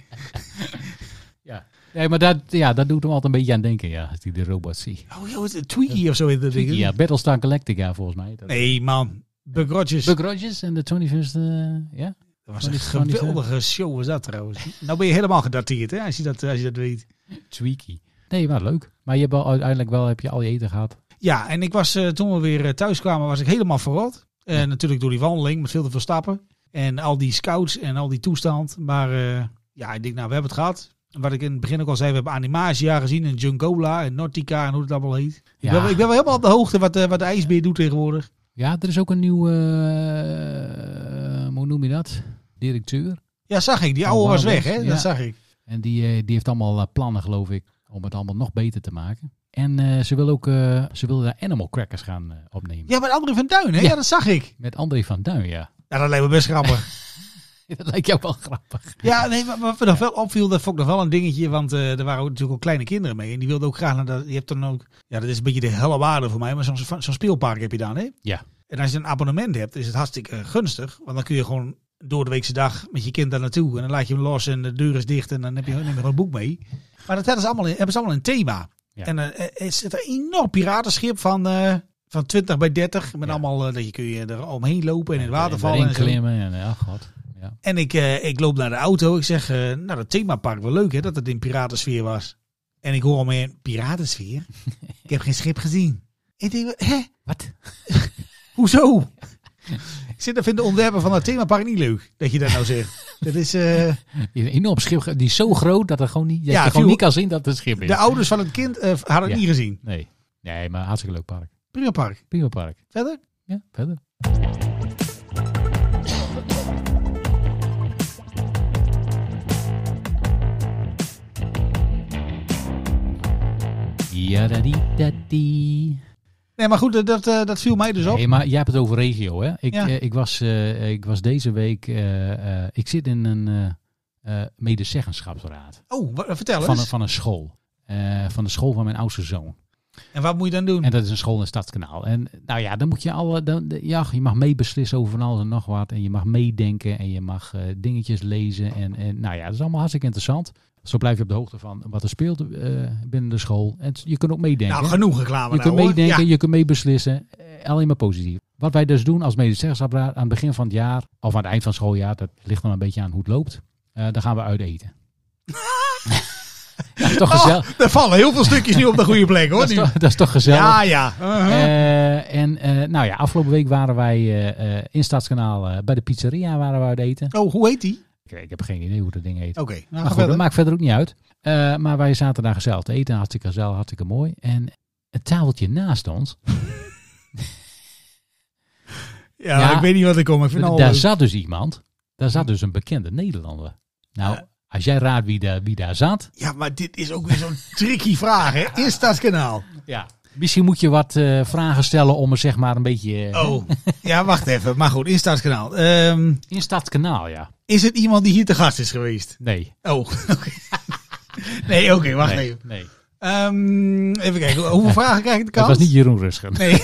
Speaker 1: Ja. Nee, maar dat, ja, dat doet hem altijd een beetje aan denken, ja, als ik die robot zie.
Speaker 7: Oh joh, het is Twiggy of zo heet dat ding.
Speaker 1: Ja, Battlestar Galactica volgens mij. Dat-
Speaker 7: Nee man, Buck Rogers.
Speaker 1: Buck Rogers en de 21st, eh, ja?
Speaker 7: Dat was
Speaker 1: Van
Speaker 7: een
Speaker 1: die- van die-
Speaker 7: geweldige show was dat trouwens. Nou ben je helemaal gedateerd hè, als je dat, als je dat weet.
Speaker 1: Tweaky. Nee, maar leuk. Maar je hebt wel uiteindelijk wel heb je al je eten gehad.
Speaker 7: Ja, en ik was eh, toen we weer eh, thuis kwamen, was ik helemaal verrot. Eh, Natuurlijk door die wandeling met veel te veel stappen. En al die scouts en al die toestand. Maar eh, ja, ik denk, nou, we hebben het gehad. En Wat ik in het begin ook al zei, we hebben Animagia gezien en Jungola en Nortica en hoe het allemaal heet.
Speaker 1: Ja.
Speaker 7: Ik, ben, wel- ik ben wel helemaal op de hoogte wat, eh, wat de ijsbeer doet tegenwoordig.
Speaker 1: Ja, er is ook een nieuwe, eh, hoe noem je dat? Directeur.
Speaker 7: Ja, zag ik. Die
Speaker 1: Oh,
Speaker 7: oude was
Speaker 1: wauw,
Speaker 7: weg, hè?
Speaker 1: ja.
Speaker 7: Dat zag ik.
Speaker 1: En die, eh, die heeft allemaal eh, plannen, geloof ik, om het allemaal nog beter te maken. En eh, ze wil ook, eh, ze wil daar Animal Crackers gaan eh, opnemen.
Speaker 7: Ja, met André van Duin, hè? Ja,
Speaker 1: Ja.
Speaker 7: dat zag ik.
Speaker 1: Met André van Duin, ja. (laughs)
Speaker 7: Ja, dat lijkt me best grappig.
Speaker 1: dat lijkt jou wel grappig.
Speaker 7: (laughs) Ja, nee, maar wat me nog wel opviel, dat vond ik nog wel een dingetje. Want eh, er waren ook natuurlijk ook kleine kinderen mee. En die wilden ook graag naar dat. Je hebt dan ook. Ja, dat is een beetje de helle waarde voor mij. Maar zo'n zo'n speelpark heb je dan, hè?
Speaker 1: Ja.
Speaker 7: En als je een abonnement hebt, is het hartstikke eh, gunstig. Want dan kun je gewoon door de weekse dag met je kind daar naartoe. En dan laat je hem los en de deur is dicht. En dan heb je neem je gewoon een boek mee. Maar dat hebben ze allemaal, hebben ze allemaal een thema.
Speaker 1: Ja.
Speaker 7: En eh, er zit een enorm piratenschip van, eh, van 20 bij 30. Met
Speaker 1: Ja.
Speaker 7: allemaal eh, dat je kun je er omheen lopen en in het water
Speaker 1: En
Speaker 7: vallen.
Speaker 1: erin
Speaker 7: En, zo.
Speaker 1: klimmen en ja, god. Ja.
Speaker 7: en ik, eh, ik loop naar de auto. Ik zeg, eh, nou dat themapark wel leuk hè, dat het in piratensfeer was. En ik hoor om me heen, piratensfeer? ik heb geen schip gezien. Ik denk, hè?
Speaker 1: Wat?
Speaker 7: Hoezo? Ik zit, dat vinden de ontwerpen van dat themapark niet leuk. Dat je dat nou zegt. Dat is, eh,
Speaker 1: Een enorm schip, die is zo groot dat, er gewoon niet, dat
Speaker 7: Ja,
Speaker 1: je gewoon
Speaker 7: viel-
Speaker 1: niet kan zien dat het een schip is.
Speaker 7: de ouders van het kind eh, hadden het
Speaker 1: Ja.
Speaker 7: niet gezien.
Speaker 1: Nee. Nee, maar hartstikke leuk park.
Speaker 7: Prima park.
Speaker 1: Prima park.
Speaker 7: Verder?
Speaker 1: Ja, verder. Ja, dat die, dat die.
Speaker 7: Nee, maar goed, eh, dat, eh, dat viel mij dus op.
Speaker 1: Hey, maar jij hebt het over regio, hè? Ik,
Speaker 7: Ja.
Speaker 1: eh, ik, was, eh, ik was deze week... eh, eh, ik zit in een eh, eh, medezeggenschapsraad
Speaker 7: Oh, wa- vertel
Speaker 1: van,
Speaker 7: eens.
Speaker 1: een- van een school. Eh, van de school van mijn oudste zoon.
Speaker 7: En wat moet je dan doen?
Speaker 1: En dat is een school in Stadskanaal. En nou ja, dan moet je alle. Dan, de- ja, je mag meebeslissen over van alles en nog wat. En je mag meedenken en je mag eh, dingetjes lezen. En, en nou ja, dat is allemaal hartstikke interessant. Zo blijf je op de hoogte van wat er speelt eh, binnen de school. En t- je kunt ook meedenken.
Speaker 7: nou, genoeg reclame
Speaker 1: je
Speaker 7: nou,
Speaker 1: kunt
Speaker 7: hoor.
Speaker 1: meedenken,
Speaker 7: Ja.
Speaker 1: je kunt meebeslissen. Eh, Alleen maar positief. Wat wij dus doen als medezeggenschapsraad aan het begin van het jaar, of aan het eind van het schooljaar, dat ligt dan een beetje aan hoe het loopt. eh, dan gaan we uit
Speaker 7: (laughs)
Speaker 1: eten. (laughs) dat is toch gezellig.
Speaker 7: Oh, er vallen heel veel stukjes nu op de goede plek, hoor.
Speaker 1: dat, is
Speaker 7: nu.
Speaker 1: toch, dat is toch gezellig.
Speaker 7: Ja, ja. Uh-huh.
Speaker 1: Eh, en eh, nou ja, afgelopen week waren wij eh, eh, in Stadskanaal eh, bij de pizzeria waren we uit eten.
Speaker 7: oh, hoe heet die?
Speaker 1: Ik, ik heb geen idee hoe dat ding heet.
Speaker 7: Oké, nou, ga
Speaker 1: maar goed,
Speaker 7: verder.
Speaker 1: dat maakt verder ook niet uit. Eh, maar wij zaten daar gezellig te eten, hartstikke gezellig, hartstikke mooi. En het tafeltje naast ons,
Speaker 7: ja,
Speaker 1: ja.
Speaker 7: ik weet niet wat ik kom. Ik vind het al eh,
Speaker 1: daar
Speaker 7: leuk.
Speaker 1: zat dus iemand, daar zat dus een bekende Nederlander. Nou,
Speaker 7: Ja.
Speaker 1: als jij raadt wie, daar wie daar zat,
Speaker 7: Ja, maar dit is ook weer zo'n (laughs) tricky vraag, hè? Instastkanaal.
Speaker 1: ja. misschien moet je wat eh, vragen stellen om er zeg maar een beetje... eh,
Speaker 7: Oh, (laughs) ja, wacht even. Maar goed, Instastkanaal. Ehm
Speaker 1: In Stadskanaal, ja.
Speaker 7: Is het iemand die hier te gast is geweest?
Speaker 1: Nee.
Speaker 7: Oh, (laughs) oké. Nee, oké, wacht
Speaker 1: nee,
Speaker 7: even.
Speaker 1: nee.
Speaker 7: Ehm, even kijken, hoeveel vragen krijg ik de
Speaker 1: Dat
Speaker 7: kans?
Speaker 1: was niet Jeroen Rusgen.
Speaker 7: (laughs) Nee.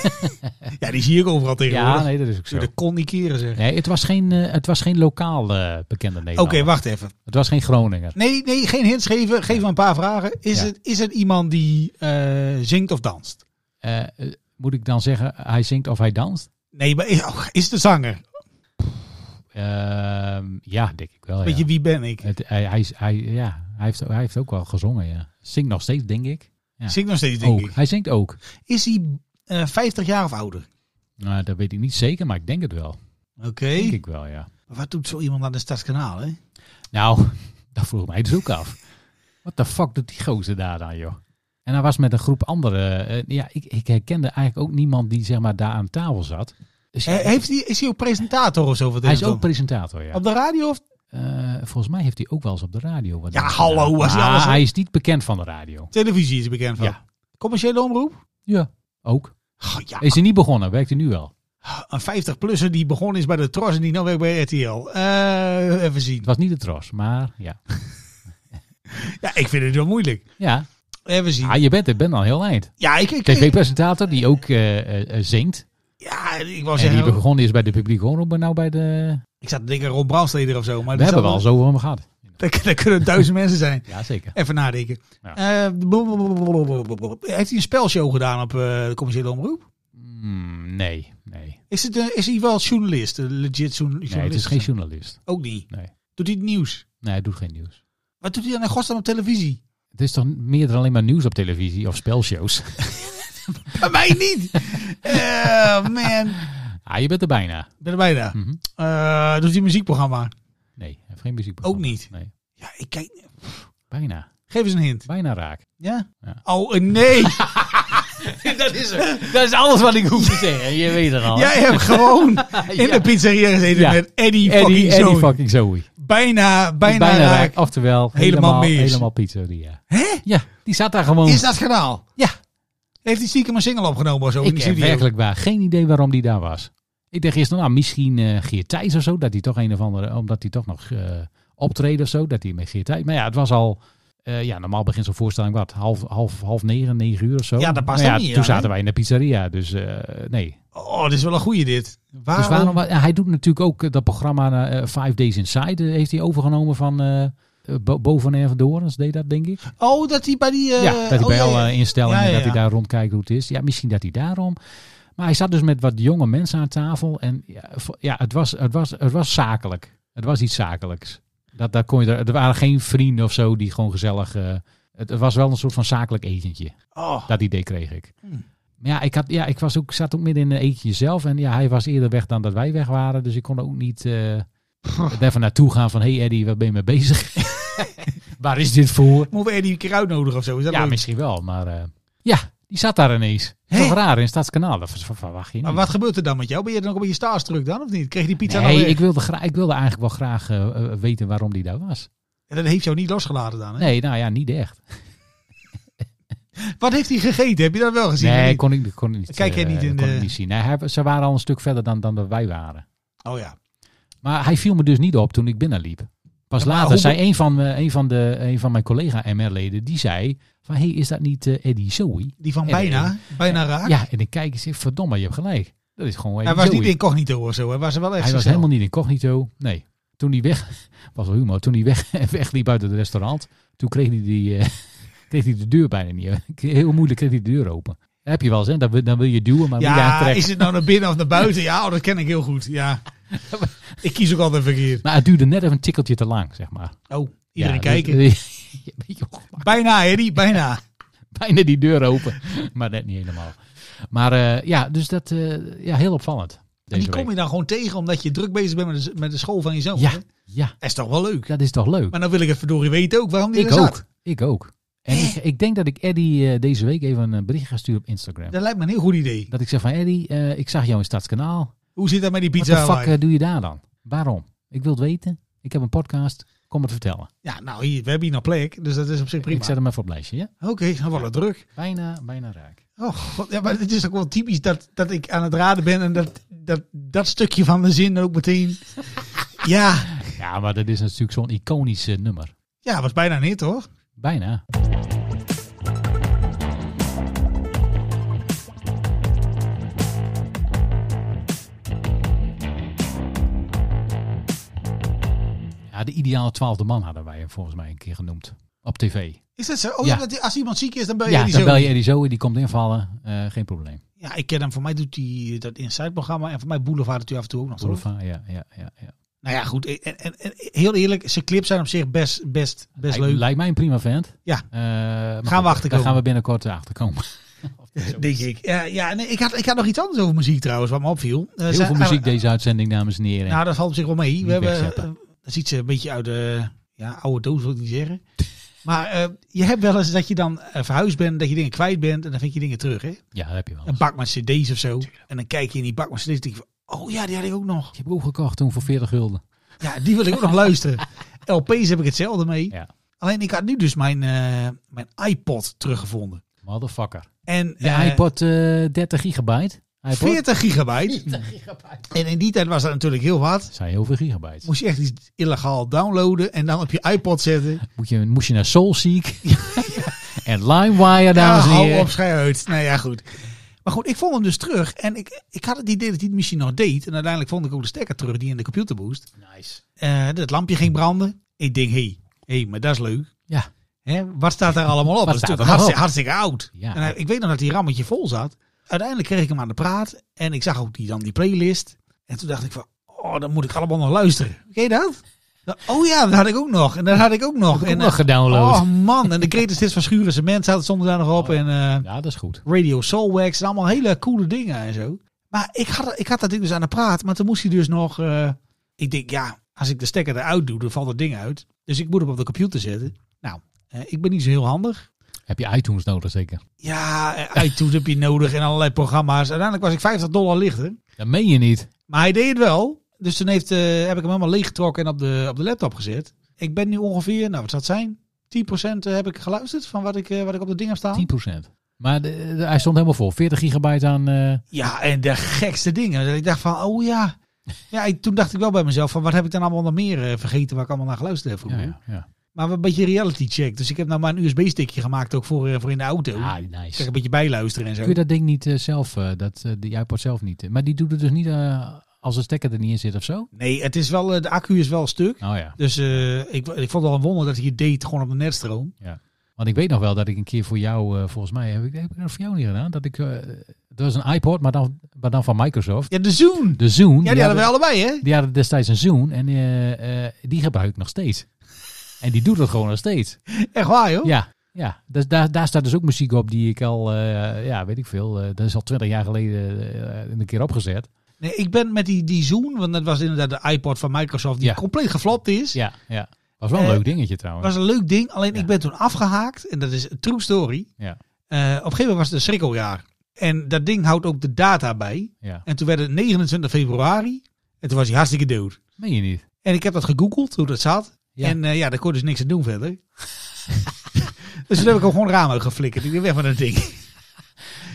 Speaker 7: ja, die zie ik overal tegenwoordig.
Speaker 1: Ja, nee, dat is ook zo.
Speaker 7: Zullen we de kon niet keren zeg.
Speaker 1: Nee, het was geen, eh, het was geen lokaal eh, bekende
Speaker 7: Oké,
Speaker 1: Nederlander.
Speaker 7: wacht even.
Speaker 1: Het was geen Groninger.
Speaker 7: Nee, nee, geen hints geven. Geef me een paar vragen. Is,
Speaker 1: Ja.
Speaker 7: het, is het iemand die eh, zingt of danst?
Speaker 1: Eh, eh, moet ik dan zeggen, hij zingt of hij danst?
Speaker 7: Nee, maar is, oh, is het een zanger?
Speaker 1: Ehm, ja, denk ik wel.
Speaker 7: Weet
Speaker 1: Ja.
Speaker 7: je, wie ben ik?
Speaker 1: Het, hij, hij, is- hij- ja, hij, heeft, hij heeft ook wel gezongen, ja. Zingt nog steeds, denk ik. ja.
Speaker 7: Zingt nog steeds, denk
Speaker 1: ook.
Speaker 7: ik.
Speaker 1: Hij zingt ook.
Speaker 7: Is hij eh 50 jaar of ouder?
Speaker 1: Nou, dat weet ik niet zeker, maar ik denk het wel.
Speaker 7: Oké.
Speaker 1: Denk ik wel, ja.
Speaker 7: Wat doet zo iemand aan de Stadskanaal, hè?
Speaker 1: Nou, (laughs) dat vroeg mij dus ook af. Wat de fuck doet die gozer daar dan, joh? En hij was met een groep anderen. eh, ja, ik, ik herkende eigenlijk ook niemand die zeg maar daar aan tafel zat. Dus ja,
Speaker 7: Eh, Heeft hij, is hij ook presentator of zo? Wat
Speaker 1: hij is
Speaker 7: het
Speaker 1: ook
Speaker 7: dan? Oh.
Speaker 1: presentator, ja.
Speaker 7: Op de radio of
Speaker 1: Eh, volgens mij heeft hij ook wel eens op de radio. Wat
Speaker 7: Ja,
Speaker 1: dingen
Speaker 7: hallo,
Speaker 1: gedaan.
Speaker 7: als hij
Speaker 1: Maar
Speaker 7: alles-
Speaker 1: hij is niet bekend van de radio.
Speaker 7: televisie is bekend van?
Speaker 1: Ja.
Speaker 7: Commerciële omroep?
Speaker 1: Ja. Ook.
Speaker 7: Oh, ja,
Speaker 1: Is hij niet begonnen? Werkt hij nu wel?
Speaker 7: een 50-plusser die begonnen is bij de Tros en die nou werkt bij RTL. Eh, even zien.
Speaker 1: Het was niet de tros, maar ja.
Speaker 7: Ja, ik vind het wel moeilijk.
Speaker 1: Ja,
Speaker 7: Even zien.
Speaker 1: ah, je bent er bent al heel eind.
Speaker 7: ja, ik, ik, ik-
Speaker 1: TV-presentator die ook eh, eh, eh, zingt.
Speaker 7: ja, ik wou
Speaker 1: En die
Speaker 7: zeggen,
Speaker 1: begonnen is bij de publieke omroep, maar nou bij de...
Speaker 7: ik zat te denken Rob Brandsteder of zo. Maar
Speaker 1: We
Speaker 7: dat
Speaker 1: hebben wel
Speaker 7: zal
Speaker 1: zo over hem gehad.
Speaker 7: Dat, (laughs) dat kunnen duizend mensen zijn.
Speaker 1: Ja, zeker.
Speaker 7: Even nadenken.
Speaker 1: Ja.
Speaker 7: Eh, blablabla. heeft hij een spelshow gedaan op eh, de commerciële omroep?
Speaker 1: Hmm, nee, nee.
Speaker 7: Is, het, een- is hij wel journalist? Een legit journa- journalist?
Speaker 1: Nee, het is geen journalist.
Speaker 7: Ook niet.
Speaker 1: Nee.
Speaker 7: Doet hij het nieuws?
Speaker 1: Nee, hij doet geen nieuws.
Speaker 7: Wat doet hij dan in godsnaam op televisie?
Speaker 1: Het is toch meer dan alleen maar nieuws op televisie of spelshows? (laughs)
Speaker 7: Bij mij niet. (laughs) Eh, man.
Speaker 1: ah, je bent er bijna.
Speaker 7: Ik ben er bijna.
Speaker 1: Mhm.
Speaker 7: Eh, doet hij een muziekprogramma?
Speaker 1: Nee, hij heeft geen muziek.
Speaker 7: Ook niet.
Speaker 1: Nee,
Speaker 7: Ja, ik kijk.
Speaker 1: bijna.
Speaker 7: Geef eens een hint.
Speaker 1: Bijna raak. (laughs)
Speaker 7: Ja?
Speaker 1: Ja.
Speaker 7: Oh, eh, nee.
Speaker 1: (laughs) Dat is, dat is alles wat ik hoef te zeggen. Je weet het al.
Speaker 7: Jij hebt gewoon
Speaker 1: (laughs)
Speaker 7: in de pizzeria gezeten
Speaker 1: Oh. Ja.
Speaker 7: met Eddie,
Speaker 1: Eddie,
Speaker 7: fucking Zoon.
Speaker 1: Eddie fucking Zoe.
Speaker 7: Bijna, bijna, raak.
Speaker 1: Oftewel,
Speaker 7: Helemaal
Speaker 1: helemaal,
Speaker 7: mis.
Speaker 1: helemaal pizzeria.
Speaker 7: Hè?
Speaker 1: Ja, die zat daar gewoon.
Speaker 7: Is dat kanaal?
Speaker 1: Oh. Ja,
Speaker 7: Heeft hij stiekem een single opgenomen of zo in
Speaker 1: ik
Speaker 7: de
Speaker 1: heb
Speaker 7: studio?
Speaker 1: werkelijk waar geen idee waarom die daar was. Ik dacht eerst, nou, misschien eh Geert Thijs of zo. Dat hij toch een of andere, omdat hij toch nog eh optreden of zo. Dat hij met Geert Thijs. Maar ja, het was al, eh, ja, normaal begint zo'n voorstelling wat, half, half, half negen, negen uur of zo.
Speaker 7: Ja, dat past
Speaker 1: Maar
Speaker 7: ook niet,
Speaker 1: Toen
Speaker 7: ja,
Speaker 1: zaten
Speaker 7: hè?
Speaker 1: wij in de pizzeria, dus eh, nee.
Speaker 7: Oh, dit is wel een goeie dit. Waarom?
Speaker 1: Dus waarom, wa- ja, hij doet natuurlijk ook eh, dat programma eh, Five Days Inside, eh, heeft hij overgenomen van eh Bo- Bo van Erven Dorens, deed dat denk ik.
Speaker 7: Oh, dat hij bij die... eh,
Speaker 1: Ja, dat hij
Speaker 7: oh,
Speaker 1: bij
Speaker 7: ja, ja.
Speaker 1: alle instellingen,
Speaker 7: Ja, ja,
Speaker 1: dat hij
Speaker 7: ja.
Speaker 1: daar rondkijkt hoe het is. Ja, misschien dat hij daarom. Maar hij zat dus met wat jonge mensen aan tafel. En ja, vo- ja het, was, het, was, het was zakelijk. Het was iets zakelijks. Dat, daar kon je er, er waren geen vrienden of zo die gewoon gezellig... eh, het, het was wel een soort van zakelijk etentje.
Speaker 7: Oh,
Speaker 1: Dat idee kreeg ik.
Speaker 7: Hmm.
Speaker 1: Maar ja, ik, had, ja, ik was ook, zat ook midden in een eentje zelf. En ja, hij was eerder weg dan dat wij weg waren. Dus ik kon ook niet eh even naartoe gaan van... hey Eddie, waar ben je mee
Speaker 7: (laughs)
Speaker 1: bezig? Waar is dit voor?
Speaker 7: moeten we Eddie een keer uitnodigen of zo? Is dat
Speaker 1: Ja,
Speaker 7: leuk?
Speaker 1: misschien wel, maar eh, ja, die zat daar ineens. Toch
Speaker 7: Hè?
Speaker 1: raar in Stadskanaal, dat ver- ver- verwacht je niet.
Speaker 7: Maar wat gebeurt er dan met jou? Ben je dan ook een beetje starstruck dan of niet? Kreeg je die pizza
Speaker 1: nee,
Speaker 7: dan weer?
Speaker 1: ik wilde, gra- ik wilde eigenlijk wel graag eh, eh, weten waarom die daar was.
Speaker 7: En dat heeft jou niet losgelaten dan, hè?
Speaker 1: Nee, nou ja, niet echt.
Speaker 7: Wat heeft hij gegeten? Heb je dat wel gezien? of
Speaker 1: Nee,
Speaker 7: niet?
Speaker 1: kon ik, kon ik niet,
Speaker 7: Kijk jij
Speaker 1: eh,
Speaker 7: niet in
Speaker 1: kon ik
Speaker 7: de-
Speaker 1: niet zien. Nee, hij- ze waren al een stuk verder dan, dan dat wij waren.
Speaker 7: Oh ja.
Speaker 1: Maar hij viel me dus niet op toen ik binnenliep. Pas
Speaker 7: Ja, maar
Speaker 1: later
Speaker 7: hoe
Speaker 1: zei een van, me- een, van de, een van mijn collega-MR-leden, die zei van... hey, is dat niet eh, Eddie Zoe?
Speaker 7: Die van
Speaker 1: Ja,
Speaker 7: bijna, bijna raak.
Speaker 1: Ja, en ik kijk en zeg, verdomme, je hebt gelijk. Dat is gewoon Eddie
Speaker 7: hij was
Speaker 1: Zoe.
Speaker 7: niet incognito of zo. Hij was er wel echt
Speaker 1: Hij was
Speaker 7: zichzelf.
Speaker 1: helemaal niet incognito. Nee. Toen hij weg (laughs) was wel humor. Toen hij weg, (laughs) wegliep uit het restaurant, toen kreeg hij, die, eh, (laughs) kreeg hij de deur bijna niet. (laughs) Heel moeilijk kreeg hij de deur open. Dat heb je wel eens, hè? Dan, wil- dan wil je duwen, maar niet
Speaker 7: Ja,
Speaker 1: aantrekken.
Speaker 7: is het nou naar binnen of naar buiten? Ja, oh, dat ken ik heel goed. Ja.
Speaker 1: (laughs)
Speaker 7: Ik kies ook altijd verkeerd.
Speaker 1: Maar het duurde net even een tikkeltje te lang, zeg maar.
Speaker 7: Oh, iedereen
Speaker 1: (laughs) Ja,
Speaker 7: kijken.
Speaker 1: dus- je bent joh,
Speaker 7: Bijna, Eddie,
Speaker 1: (laughs)
Speaker 7: bijna.
Speaker 1: bijna die deur open, maar net niet helemaal. Maar eh, ja, dus dat eh, ja, heel opvallend.
Speaker 7: En
Speaker 1: Deze
Speaker 7: die kom
Speaker 1: week.
Speaker 7: je dan gewoon tegen omdat je druk bezig bent met de, met de school van je zoon. hè?
Speaker 1: Ja, ja,
Speaker 7: Dat is toch wel leuk.
Speaker 1: dat is toch leuk.
Speaker 7: Maar dan wil ik het verdorie weten ook waarom die
Speaker 1: ik
Speaker 7: er
Speaker 1: ook.
Speaker 7: zat.
Speaker 1: Ik ook. En ik, ik denk dat ik Eddie eh, deze week even een bericht ga sturen op Instagram.
Speaker 7: Dat lijkt me een heel goed idee.
Speaker 1: Dat ik zeg van Eddie, eh, ik zag jou in Stadskanaal.
Speaker 7: Hoe zit dat met die
Speaker 1: Wat
Speaker 7: pizza?
Speaker 1: de fuck
Speaker 7: Hawaii?
Speaker 1: eh, doe je daar dan? Waarom? Ik wil het weten. Ik heb een podcast. Kom het vertellen.
Speaker 7: Ja, nou, hier, we hebben hier nog plek, dus dat is op zich prima.
Speaker 1: Ik zet hem even op het lijstje. Ja?
Speaker 7: Oké, dan wordt het druk.
Speaker 1: Bijna, bijna raak.
Speaker 7: Oh, god, ja, maar het is toch wel typisch dat, dat ik aan het raden ben en dat, dat dat stukje van de zin
Speaker 1: (laughs)
Speaker 7: ook meteen. Ja,
Speaker 1: Ja, maar dat is natuurlijk zo'n iconisch eh, nummer.
Speaker 7: ja, was bijna niet hoor.
Speaker 1: Bijna. Ja, de ideale twaalfde man hadden wij hem volgens mij een keer genoemd. Op tv.
Speaker 7: Is dat zo? Oh
Speaker 1: Ja.
Speaker 7: ja, dat- als iemand ziek is, dan ben je
Speaker 1: ja,
Speaker 7: die
Speaker 1: dan
Speaker 7: zo.
Speaker 1: bel je Eddie Zoe, die komt invallen. Eh, geen probleem.
Speaker 7: Ja, ik ken hem. Voor mij doet hij dat Inside-programma en voor mij Boulevard doet hij af en toe ook nog. toch?
Speaker 1: Boulevard, ah, ja, ja, ja. ja.
Speaker 7: Nou ja, goed. En, en, en heel eerlijk, zijn clips zijn op zich best, best, best
Speaker 1: Lijkt-
Speaker 7: leuk.
Speaker 1: Lijkt mij een prima vent.
Speaker 7: Ja.
Speaker 1: Eh, maar goed, Daar
Speaker 7: achterkomen. Dus,
Speaker 1: gaan we binnenkort achterkomen.
Speaker 7: Denk ik. Ja, ja nee, ik, had, ik had nog iets anders over muziek trouwens, wat me opviel. Eh,
Speaker 1: Heel
Speaker 7: zijn-
Speaker 1: veel muziek deze uitzending, dames en heren.
Speaker 7: Nou, dat valt op zich wel mee. we hebben,
Speaker 1: wegzeppen.
Speaker 7: eh, dat ziet ze een beetje uit de ja, oude doos, wil ik niet zeggen. Maar eh, je hebt wel eens dat je dan eh, verhuisd bent, dat je dingen kwijt bent en dan vind je dingen terug. Hè?
Speaker 1: ja, dat heb je wel.
Speaker 7: Een bak met cd's of zo. En dan kijk je in die bak met cd's en denk je van, oh ja, die had ik ook nog.
Speaker 1: Ik heb ook gekocht toen voor 40 gulden.
Speaker 7: Ja, die wil ik ook nog
Speaker 1: (laughs)
Speaker 7: luisteren. LP's heb ik hetzelfde mee.
Speaker 1: Ja.
Speaker 7: Alleen ik had nu dus mijn, eh, mijn iPod teruggevonden.
Speaker 1: Motherfucker.
Speaker 7: En,
Speaker 1: De
Speaker 7: eh,
Speaker 1: iPod eh, 30 gigabyte. iPod?
Speaker 7: 40 gigabyte. En in die tijd was dat natuurlijk heel wat.
Speaker 1: Dat zijn heel veel gigabytes.
Speaker 7: Moest je echt iets illegaal downloaden en dan op je iPod zetten.
Speaker 1: Moet je, moest je naar
Speaker 7: (laughs)
Speaker 1: Soulseek. (laughs) en LimeWire, (laughs) dames en
Speaker 7: ja,
Speaker 1: heren.
Speaker 7: hou op, schei uit. Nou ja, goed. Maar goed, ik vond hem dus terug. En ik, ik had het idee dat hij het misschien nog deed. En uiteindelijk vond ik ook de stekker terug die in de computer moest.
Speaker 1: Nice.
Speaker 7: Eh, dat lampje ging branden. Ik denk, hé, hey, hey, maar dat is leuk.
Speaker 1: Ja.
Speaker 7: Hè, wat staat daar allemaal
Speaker 1: Wat
Speaker 7: op? dat is
Speaker 1: staat
Speaker 7: natuurlijk
Speaker 1: er nog
Speaker 7: hartstikke, hartstikke oud.
Speaker 1: Ja.
Speaker 7: En hij- ik weet nog dat die rammetje vol zat. Uiteindelijk kreeg ik hem aan de praat. En ik zag ook die, dan die playlist. En toen dacht ik van, oh, dan moet ik allemaal nog luisteren. Ken je dat? Dat- Oh ja, dat had ik ook nog. En dat had ik ook nog.
Speaker 1: Ook
Speaker 7: en,
Speaker 1: nog
Speaker 7: eh,
Speaker 1: gedownload. Oh.
Speaker 7: Oh man, en de Greatest Hits van Schuren Cement zaten soms daar nog op. En eh,
Speaker 1: Ja, dat is goed.
Speaker 7: Radio Soulwax en allemaal hele coole dingen en zo. Maar ik had, ik had dat ding dus aan de praat, maar toen moest hij dus nog... eh, ik denk, ja, als ik de stekker eruit doe, dan valt dat ding uit. Dus ik moet hem op de computer zetten. Nou, eh, ik ben niet zo heel handig.
Speaker 1: Heb je iTunes nodig zeker?
Speaker 7: Ja, eh, iTunes heb je nodig en allerlei programma's. Uiteindelijk was ik 50 dollar lichter.
Speaker 1: Dat meen je niet.
Speaker 7: Maar hij deed het wel. Dus toen heeft, eh, heb ik hem helemaal leeggetrokken en op de, op de laptop gezet. Ik eh, ben nu ongeveer, nou wat zou het zijn? 10% heb ik geluisterd van wat ik, eh, wat ik op dat ding heb staan.
Speaker 1: 10%. Maar de- de- hij stond helemaal vol. 40 gigabyte aan... eh,
Speaker 7: Ja, en de gekste dingen. Dat ik dacht van, oh ja. Ja, ik, toen dacht ik wel bij mezelf van, wat heb ik dan allemaal nog meer eh, vergeten waar ik allemaal naar geluisterd heb
Speaker 1: ja,
Speaker 7: vroeger.
Speaker 1: ja, ja.
Speaker 7: Maar een beetje reality check. Dus ik heb nou maar een USB-stickje gemaakt ook voor, eh, voor in de auto.
Speaker 1: Ah,
Speaker 7: Dus ik
Speaker 1: nice.
Speaker 7: een beetje bijluisteren en zo.
Speaker 1: Kun je dat ding niet eh, zelf, eh, dat, eh, die iPod zelf niet. eh, Maar die doet het dus niet eh, als de stekker er niet in zit of zo? Oh
Speaker 7: Nee, het is wel, eh, de accu is wel stuk.
Speaker 1: ja.
Speaker 7: Dus eh, ik, ik vond het wel een wonder dat hij het deed gewoon op de netstroom.
Speaker 1: Want ik weet nog wel dat ik een keer voor jou, eh, volgens mij, heb ik, heb ik dat voor jou niet gedaan. Dat ik, eh het was een iPod, maar dan, maar dan van Microsoft.
Speaker 7: Ja, de Zoom.
Speaker 1: De Zoom.
Speaker 7: Ja, die hadden we allebei, hè?
Speaker 1: Die hadden destijds een Zoom en eh, eh, die gebruik ik nog steeds. En die doet dat gewoon nog steeds.
Speaker 7: Echt waar, joh.
Speaker 1: Ja, ja. Dus daar, daar staat dus ook muziek op die ik al, eh, ja, weet ik veel, eh, dat is al twintig jaar geleden eh, een keer opgezet.
Speaker 7: Nee, ik ben met die, die Zoom, want dat was inderdaad de iPod van Microsoft die
Speaker 1: Ja.
Speaker 7: compleet geflopt is.
Speaker 1: Ja, ja. Was wel een
Speaker 7: Eh,
Speaker 1: leuk dingetje trouwens.
Speaker 7: was een leuk ding, alleen
Speaker 1: Ja.
Speaker 7: ik ben toen afgehaakt. En dat is een true story.
Speaker 1: Ja,
Speaker 7: Eh, op een gegeven moment was het een schrikkeljaar. En dat ding houdt ook de data bij.
Speaker 1: ja.
Speaker 7: En toen werd het 29 februari. En toen was hij hartstikke dood.
Speaker 1: Meen je niet?
Speaker 7: En ik heb dat gegoogeld, hoe dat zat.
Speaker 1: Ja.
Speaker 7: En eh, ja, daar kon je dus niks aan doen
Speaker 1: (laughs)
Speaker 7: verder. dus toen heb ik hem gewoon raam uitgeflikkerd. Ik ben weg van dat ding.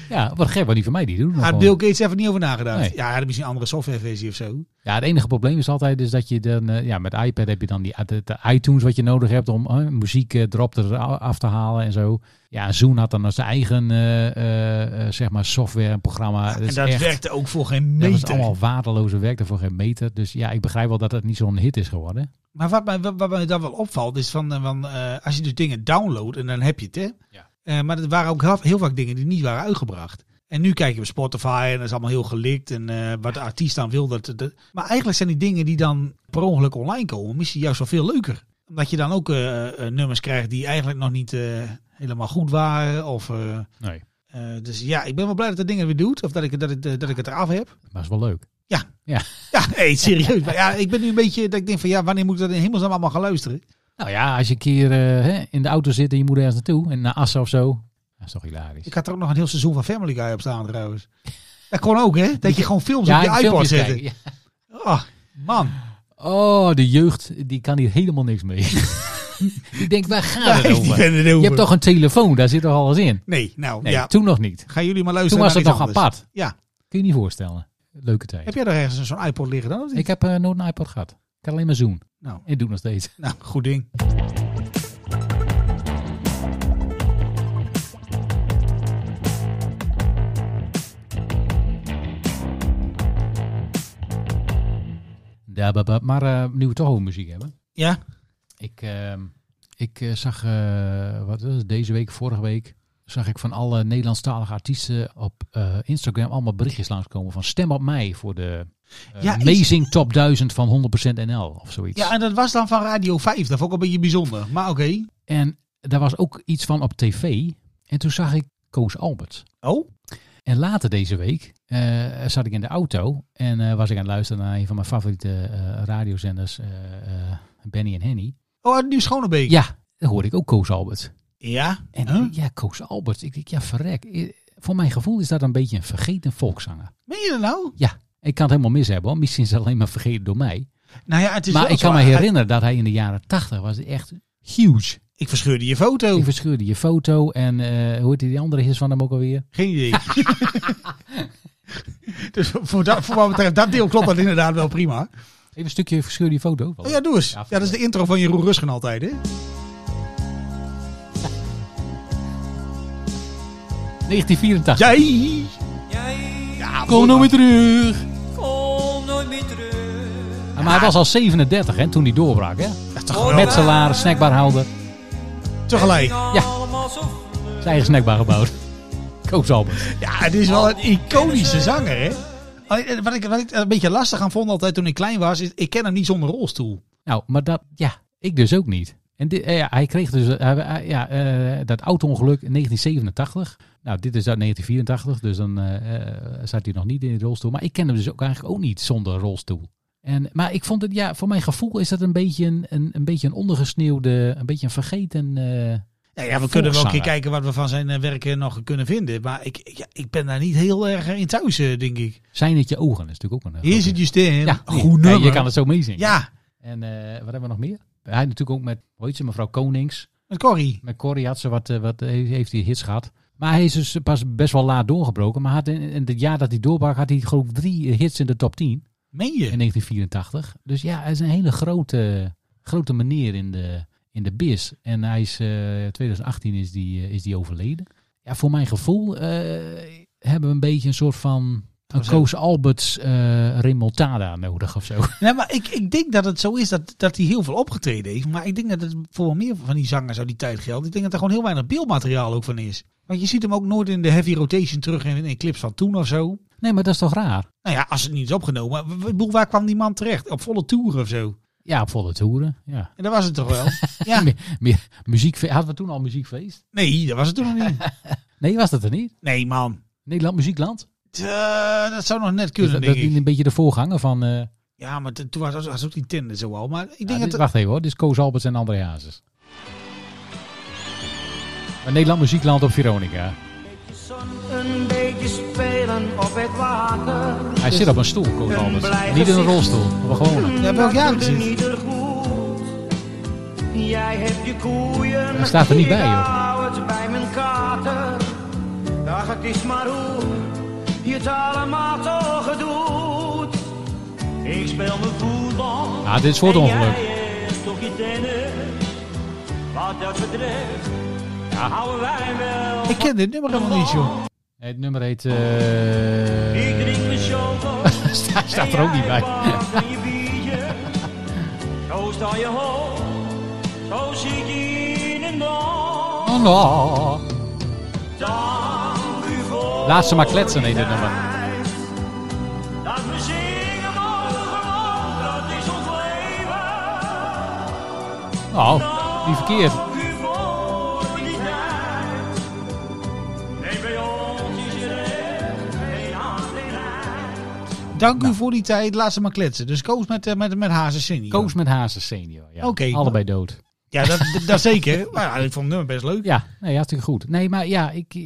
Speaker 1: Ja, wat gek, want die van mij die doen het nog
Speaker 7: Had
Speaker 1: wel.
Speaker 7: Ah, Bill Gates even niet over nagedacht.
Speaker 1: Nee.
Speaker 7: Ja, hij had misschien een andere softwareversie of zo.
Speaker 1: Ja, het enige probleem is altijd dus dat je dan, eh, ja, met iPad heb je dan die de, de iTunes wat je nodig hebt om eh, muziek eh, erop te, af te halen en zo. Ja, Zoom had dan zijn eigen, eh, eh, eh, zeg maar, software en programma.
Speaker 7: Ah, en
Speaker 1: is
Speaker 7: dat
Speaker 1: echt-
Speaker 7: werkte ook voor geen
Speaker 1: Dat was
Speaker 7: meter.
Speaker 1: allemaal waardeloze werk, daarvoor geen meter. Dus ja, ik begrijp wel dat het niet zo'n hit is geworden.
Speaker 7: Maar wat mij, wat, wat mij dan wel opvalt is van, eh, van eh, als je dus dingen downloadt en dan heb je het hè.
Speaker 1: Ja.
Speaker 7: Eh, maar er waren ook heel, heel vaak dingen die niet waren uitgebracht. En nu kijk je op Spotify en dat is allemaal heel gelikt en eh, wat de artiest dan wil. Dat, dat- Maar eigenlijk zijn die dingen die dan per ongeluk online komen misschien juist wel veel leuker. Omdat je dan ook eh, eh, nummers krijgt die eigenlijk nog niet eh, helemaal goed waren. Of, eh,
Speaker 1: Nee.
Speaker 7: eh, dus ja, ik ben wel blij dat dat dingen weer doet of dat ik, dat ik, dat ik het eraf heb.
Speaker 1: Maar is wel leuk.
Speaker 7: Ja, (laughs) nee, serieus. Maar ja, ik ben nu een beetje dat ik denk van ja, wanneer moet ik dat in hemelsnaam allemaal gaan luisteren?
Speaker 1: Nou ja, als je een keer eh, hè, in de auto zit en je moet ergens naartoe, en naar Assen of zo. Dat is toch hilarisch.
Speaker 7: Ik had er ook nog een heel seizoen van Family Guy op staan trouwens. Dat kon ook, hè? Dat je gewoon films dus op
Speaker 1: en
Speaker 7: je iPod
Speaker 1: filmpjes
Speaker 7: zetten.
Speaker 1: kijken. Ja.
Speaker 7: Ah, man.
Speaker 1: Oh, de jeugd, die kan hier helemaal niks mee. (laughs) ik denk, waar
Speaker 7: (laughs) Daar
Speaker 1: gaat het
Speaker 7: heeft die
Speaker 1: over?
Speaker 7: vent het over.
Speaker 1: Je hebt toch een telefoon, daar zit toch alles in?
Speaker 7: Nee, nou
Speaker 1: Nee,
Speaker 7: ja.
Speaker 1: toen nog niet.
Speaker 7: Gaan jullie maar
Speaker 1: Toen
Speaker 7: luisteren
Speaker 1: was
Speaker 7: naar
Speaker 1: het nog
Speaker 7: iets anders.
Speaker 1: apart.
Speaker 7: Ja.
Speaker 1: Kun je niet voorstellen. Leuke
Speaker 7: Heb
Speaker 1: tijd.
Speaker 7: jij er ergens zo'n iPod liggen dan? of niet?
Speaker 1: Ik heb eh, nooit een iPod gehad. Ik had alleen maar Zoom.
Speaker 7: Nou,
Speaker 1: Ik doe nog steeds.
Speaker 7: nou, goed ding.
Speaker 1: Ja, ba- ba- Maar eh, nu we toch over muziek hebben.
Speaker 7: Ja?
Speaker 1: Ik, ehm, ik eh, zag, eh, wat was het, deze week, vorige week, zag ik van alle Nederlandstalige artiesten op eh, Instagram allemaal berichtjes langskomen van stem op mij voor de eh,
Speaker 7: Ja, is-
Speaker 1: Amazing Top 1000 van 100% NL of zoiets.
Speaker 7: Ja, en dat was dan van Radio 5. Dat vond ik een beetje bijzonder. Maar oké.
Speaker 1: En daar was ook iets van op tv. En toen zag ik Koos Albert.
Speaker 7: Oh?
Speaker 1: En later deze week eh, zat ik in de auto en eh, was ik aan het luisteren naar een van mijn favoriete eh, radiozenders, eh, eh, Benny en Henny.
Speaker 7: Oh, uit Nieuw Schonebeek.
Speaker 1: Ja, daar hoorde ik ook Koos Albert.
Speaker 7: Ja?
Speaker 1: En
Speaker 7: Huh?
Speaker 1: eh, ja, Koos Albert. Ik denk, ja, verrek. Eh, Voor mijn gevoel is dat een beetje een vergeten volkszanger.
Speaker 7: Meen je dat nou?
Speaker 1: Ik kan het helemaal mis hebben, hoor. misschien is het alleen maar vergeten door mij.
Speaker 7: Nou ja, het is
Speaker 1: Maar
Speaker 7: wel
Speaker 1: ik kan
Speaker 7: zo.
Speaker 1: me
Speaker 7: Hij-
Speaker 1: herinneren dat hij in de jaren tachtig was echt huge.
Speaker 7: Ik verscheurde je foto.
Speaker 1: Ik verscheurde je foto en eh hoe heet die andere hits van hem ook alweer?
Speaker 7: Geen
Speaker 1: (laughs)
Speaker 7: idee. (laughs) dus voor, dat, voor wat betreft dat deel klopt dat inderdaad wel prima.
Speaker 1: Even een stukje verscheurde je foto.
Speaker 7: Oh ja, doe eens. Ja,
Speaker 1: Ja,
Speaker 7: dat is de intro van Jeroen Rusgen altijd, hè?
Speaker 1: 1984.
Speaker 7: Jij!
Speaker 5: Jij
Speaker 1: Kom nou weer terug.
Speaker 5: komt nooit meer terug.
Speaker 1: Maar hij was al 37 hè, toen hij doorbrak. Hè?
Speaker 7: Dat is toch
Speaker 5: Hoor
Speaker 7: geweldig.
Speaker 5: mij
Speaker 1: Metselaar, snackbarhouder.
Speaker 7: Tegelijk.
Speaker 1: Ja.
Speaker 5: allemaal zo
Speaker 1: Zijn eigen snackbar gebouwd. (laughs) Koos Albert.
Speaker 7: Ja, het is wel een iconische zanger, hè? Alleen, eh, Wat ik, wat ik er een beetje lastig aan vond altijd toen ik klein was, is ik ken hem niet zonder rolstoel.
Speaker 1: Nou, maar dat, ja, ik dus ook niet. En dit, eh, ja, hij kreeg dus eh, hij- hij- ja, eh, dat auto-ongeluk in 1987. Nou, dit is uit 1984, dus dan eh, eh, zat hij nog niet in de rolstoel. Maar ik ken hem dus ook eigenlijk ook niet zonder rolstoel. En, maar ik vond het, ja, voor mijn gevoel is dat een beetje een, een, een beetje een ondergesneeuwde, een beetje een vergeten. eh,
Speaker 7: Ja, ja, we kunnen wel een keer
Speaker 1: Volkszanger.
Speaker 7: kijken wat we van zijn eh, werken nog kunnen vinden. Maar ik, ik- ja, ik ben daar niet heel erg in thuis, eh, denk ik.
Speaker 1: zijn het je ogen is natuurlijk ook een.
Speaker 7: Hier zit Justin.
Speaker 1: ja,
Speaker 7: Goed nummer.
Speaker 1: ja, je kan het zo meezingen.
Speaker 7: Ja,
Speaker 1: En eh, wat hebben we nog meer? Hij natuurlijk ook met, hoe heet ze, mevrouw Konings.
Speaker 7: met Corrie.
Speaker 1: Met Corrie had ze wat, eh, wat eh, heeft hij hits gehad. Maar hij is dus pas best wel laat doorgebroken. Maar had in, in het jaar dat hij doorbrak, had hij geloof ik drie eh, hits in de top 10
Speaker 7: Meen je?
Speaker 1: in 1984. Dus ja, hij is een hele grote, grote meneer in de, in de biz. En hij is, eh, 2018 is die, eh, is die overleden. Ja, voor mijn gevoel eh, hebben we een beetje een soort van... Een
Speaker 7: Procent.
Speaker 1: Koos Alberts eh, remontada nodig of zo. (laughs)
Speaker 7: Nee, maar ik, ik denk dat het zo is dat, dat hij heel veel opgetreden heeft. Maar ik denk dat het voor meer van die zangers uit die tijd geldt. Ik denk dat er gewoon heel weinig beeldmateriaal ook van is. Want je ziet hem ook nooit in de heavy rotation terug in, in clips van toen of zo.
Speaker 1: Nee, maar dat is toch raar?
Speaker 7: Nou ja, als het niet is opgenomen. Maar w- w- ik bedoel, waar kwam die man terecht? Op volle toeren of zo.
Speaker 1: Ja, op volle toeren. Ja.
Speaker 7: En dat was het toch
Speaker 1: (laughs)
Speaker 7: wel? ja.
Speaker 1: Meer, meer muziekfe- Hadden we toen al muziekfeest?
Speaker 7: Nee, dat was het toen nog niet.
Speaker 1: Nee, was dat er niet?
Speaker 7: Nee, man.
Speaker 1: Nederland Muziekland?
Speaker 7: Eh, dat zou nog net
Speaker 1: Is
Speaker 7: kunnen,
Speaker 1: dat dat
Speaker 7: denk
Speaker 1: niet
Speaker 7: ik.
Speaker 1: een beetje de voorganger van... eh,
Speaker 7: Ja, maar t- toen was, was ook die tender zo al. Maar ik
Speaker 1: Ja,
Speaker 7: denk
Speaker 1: dit-
Speaker 7: dat...
Speaker 1: Wacht even hoor, dit is Koos Alberts en André Hazes. Maar Nederland Muziekland op Veronica.
Speaker 6: Een beetje spelen op het water.
Speaker 1: Hij zit op een stoel, Koos Alberts. Niet in een rolstoel, maar gewoon.
Speaker 7: Ja, welk jaar
Speaker 6: Dat
Speaker 7: is
Speaker 6: doet
Speaker 7: het?
Speaker 6: een ieder goed. Jij hebt je koeien.
Speaker 1: Hij staat er niet bij,
Speaker 6: ik
Speaker 1: joh.
Speaker 6: hou het bij mijn kater. Ach, het is maar hoe je het allemaal toch doet. Ik speel mijn voetbal.
Speaker 1: Ah, dit is voor het
Speaker 6: en
Speaker 1: ongeluk.
Speaker 6: jij hebt toch je tennis. Wat dat betreft, houden wij wel.
Speaker 7: Ik ken dit nummer helemaal niet, joh.
Speaker 1: Nee, Het nummer heet... eh,
Speaker 6: Ik drink mijn
Speaker 1: (laughs)
Speaker 6: choco.
Speaker 1: Sta- staat er ook niet bij.
Speaker 6: Zo sta je hoog, zo zit je in een bal.
Speaker 1: Oh, no.
Speaker 6: Dank u voor
Speaker 1: Laat ze maar kletsen, heet dit nummer.
Speaker 6: dat we zingen mogen, want dat is ons leven.
Speaker 1: Oh, niet verkeerd.
Speaker 6: Dank u voor die tijd. Nee, bij ons is er echt geen hand in eind.
Speaker 7: Dank u voor die tijd. Laat ze maar kletsen. Dus Koos met, eh, met, met Hazen Senior.
Speaker 1: Koos met Hazes senior. Ja.
Speaker 7: Oké.
Speaker 1: Allebei dood.
Speaker 7: Ja, dat, dat-
Speaker 1: (laughs)
Speaker 7: dat zeker. Maar ja, ik vond het nummer best leuk.
Speaker 1: Ja, nee, hartstikke goed. Nee, maar ja, ik, eh,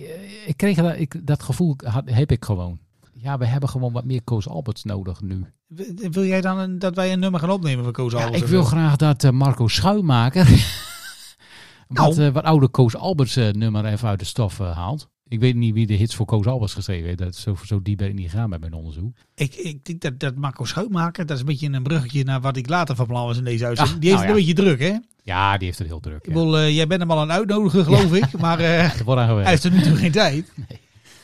Speaker 1: ik kreeg dat, ik, dat gevoel had, heb ik gewoon. Ja, we hebben gewoon wat meer Koos Alberts nodig nu.
Speaker 7: W- Wil jij dan een- dat wij een nummer gaan opnemen van Koos
Speaker 1: Ja,
Speaker 7: Albers?
Speaker 1: ik wil graag dat eh, Marco Schuimaker wat,
Speaker 7: (laughs) Nou.
Speaker 1: eh, wat oude Koos Alberts eh, nummer even uit de stof eh, haalt. Ik weet niet wie de hits voor Koos Alberts geschreven heeft. Dat, zo, zo diep ben ik niet gegaan bij mijn onderzoek.
Speaker 7: Ik, ik denk dat, dat Marco Schuitmaker, dat is een beetje een bruggetje naar wat ik later van plan was in deze uitzending.
Speaker 1: Ah,
Speaker 7: die heeft
Speaker 1: nou
Speaker 7: het een beetje druk, hè?
Speaker 1: Ja, die heeft het heel druk.
Speaker 7: Ik
Speaker 1: Ja.
Speaker 7: bedoel, eh, jij bent hem al aan het uitnodigen, geloof ik. Maar eh,
Speaker 1: (laughs) Er wordt aan
Speaker 7: hij
Speaker 1: gewerkt.
Speaker 7: heeft er nu toe geen tijd.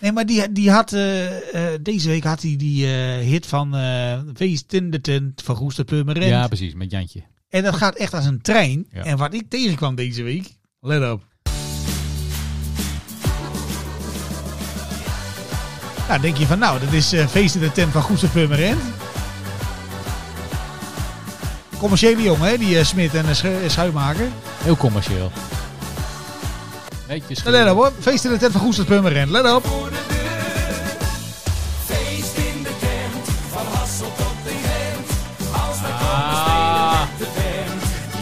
Speaker 7: Nee, maar die, die had, eh, eh, deze week had hij die eh, hit van eh Wees Tindertent van Goester Purmerend.
Speaker 1: Ja, precies. Met Jantje.
Speaker 7: En dat gaat echt als een trein.
Speaker 1: Ja.
Speaker 7: En wat ik tegenkwam deze week, let op. Nou, denk je van nou, dat is eh Feest in de Tent van Goester Purmerend. Commerciële jongen, hè, die eh, Smit en eh, Schu- eh, Schuimaker.
Speaker 1: Heel commercieel. Netjes.
Speaker 7: Nou, Let op hoor, Feest in de Tent van Goester Purmerend, let op.
Speaker 1: Ah,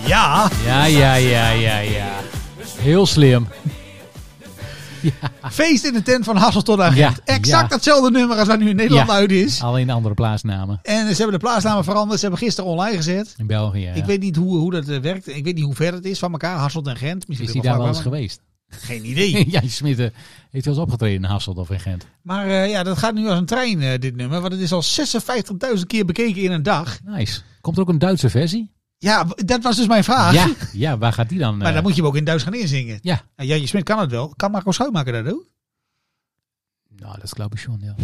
Speaker 7: Ja,
Speaker 1: ja, ja, ja, ja, ja. Heel slim.
Speaker 7: Feest in de Tent van Hassel tot Agent.
Speaker 1: Ja,
Speaker 7: exact
Speaker 1: ja.
Speaker 7: hetzelfde nummer als waar nu in Nederland
Speaker 1: Ja.
Speaker 7: uit is.
Speaker 1: Alleen andere plaatsnamen.
Speaker 7: En ze hebben de plaatsnamen veranderd, ze hebben gisteren online gezet.
Speaker 1: In België. ja.
Speaker 7: Ik weet niet hoe, hoe dat eh, werkt. Ik weet niet hoe ver het is van elkaar. Hasselt en Gent. Misschien
Speaker 1: Is hij
Speaker 7: wel
Speaker 1: daar wel eens
Speaker 7: vlakbij,
Speaker 1: geweest?
Speaker 7: maar- Geen
Speaker 1: (laughs)
Speaker 7: idee.
Speaker 1: Jantje Smitten eh, heeft wel eens opgetreden in Hasselt of in Gent.
Speaker 7: maar eh, ja, dat gaat nu als een trein, eh, dit nummer. Want het is al 56.000 keer bekeken in een dag.
Speaker 1: Nice. Komt er ook een Duitse versie?
Speaker 7: Ja, w- dat was dus mijn vraag. (laughs)
Speaker 1: Ja, ja, waar gaat die dan?
Speaker 7: Maar
Speaker 1: eh,
Speaker 7: dan moet je hem ook in Duits gaan inzingen.
Speaker 1: Ja.
Speaker 7: Nou, Jantje Smit kan het wel. Kan Marco Schuimaker dat ook?
Speaker 1: Nou, dat is geloof ik schon, ja.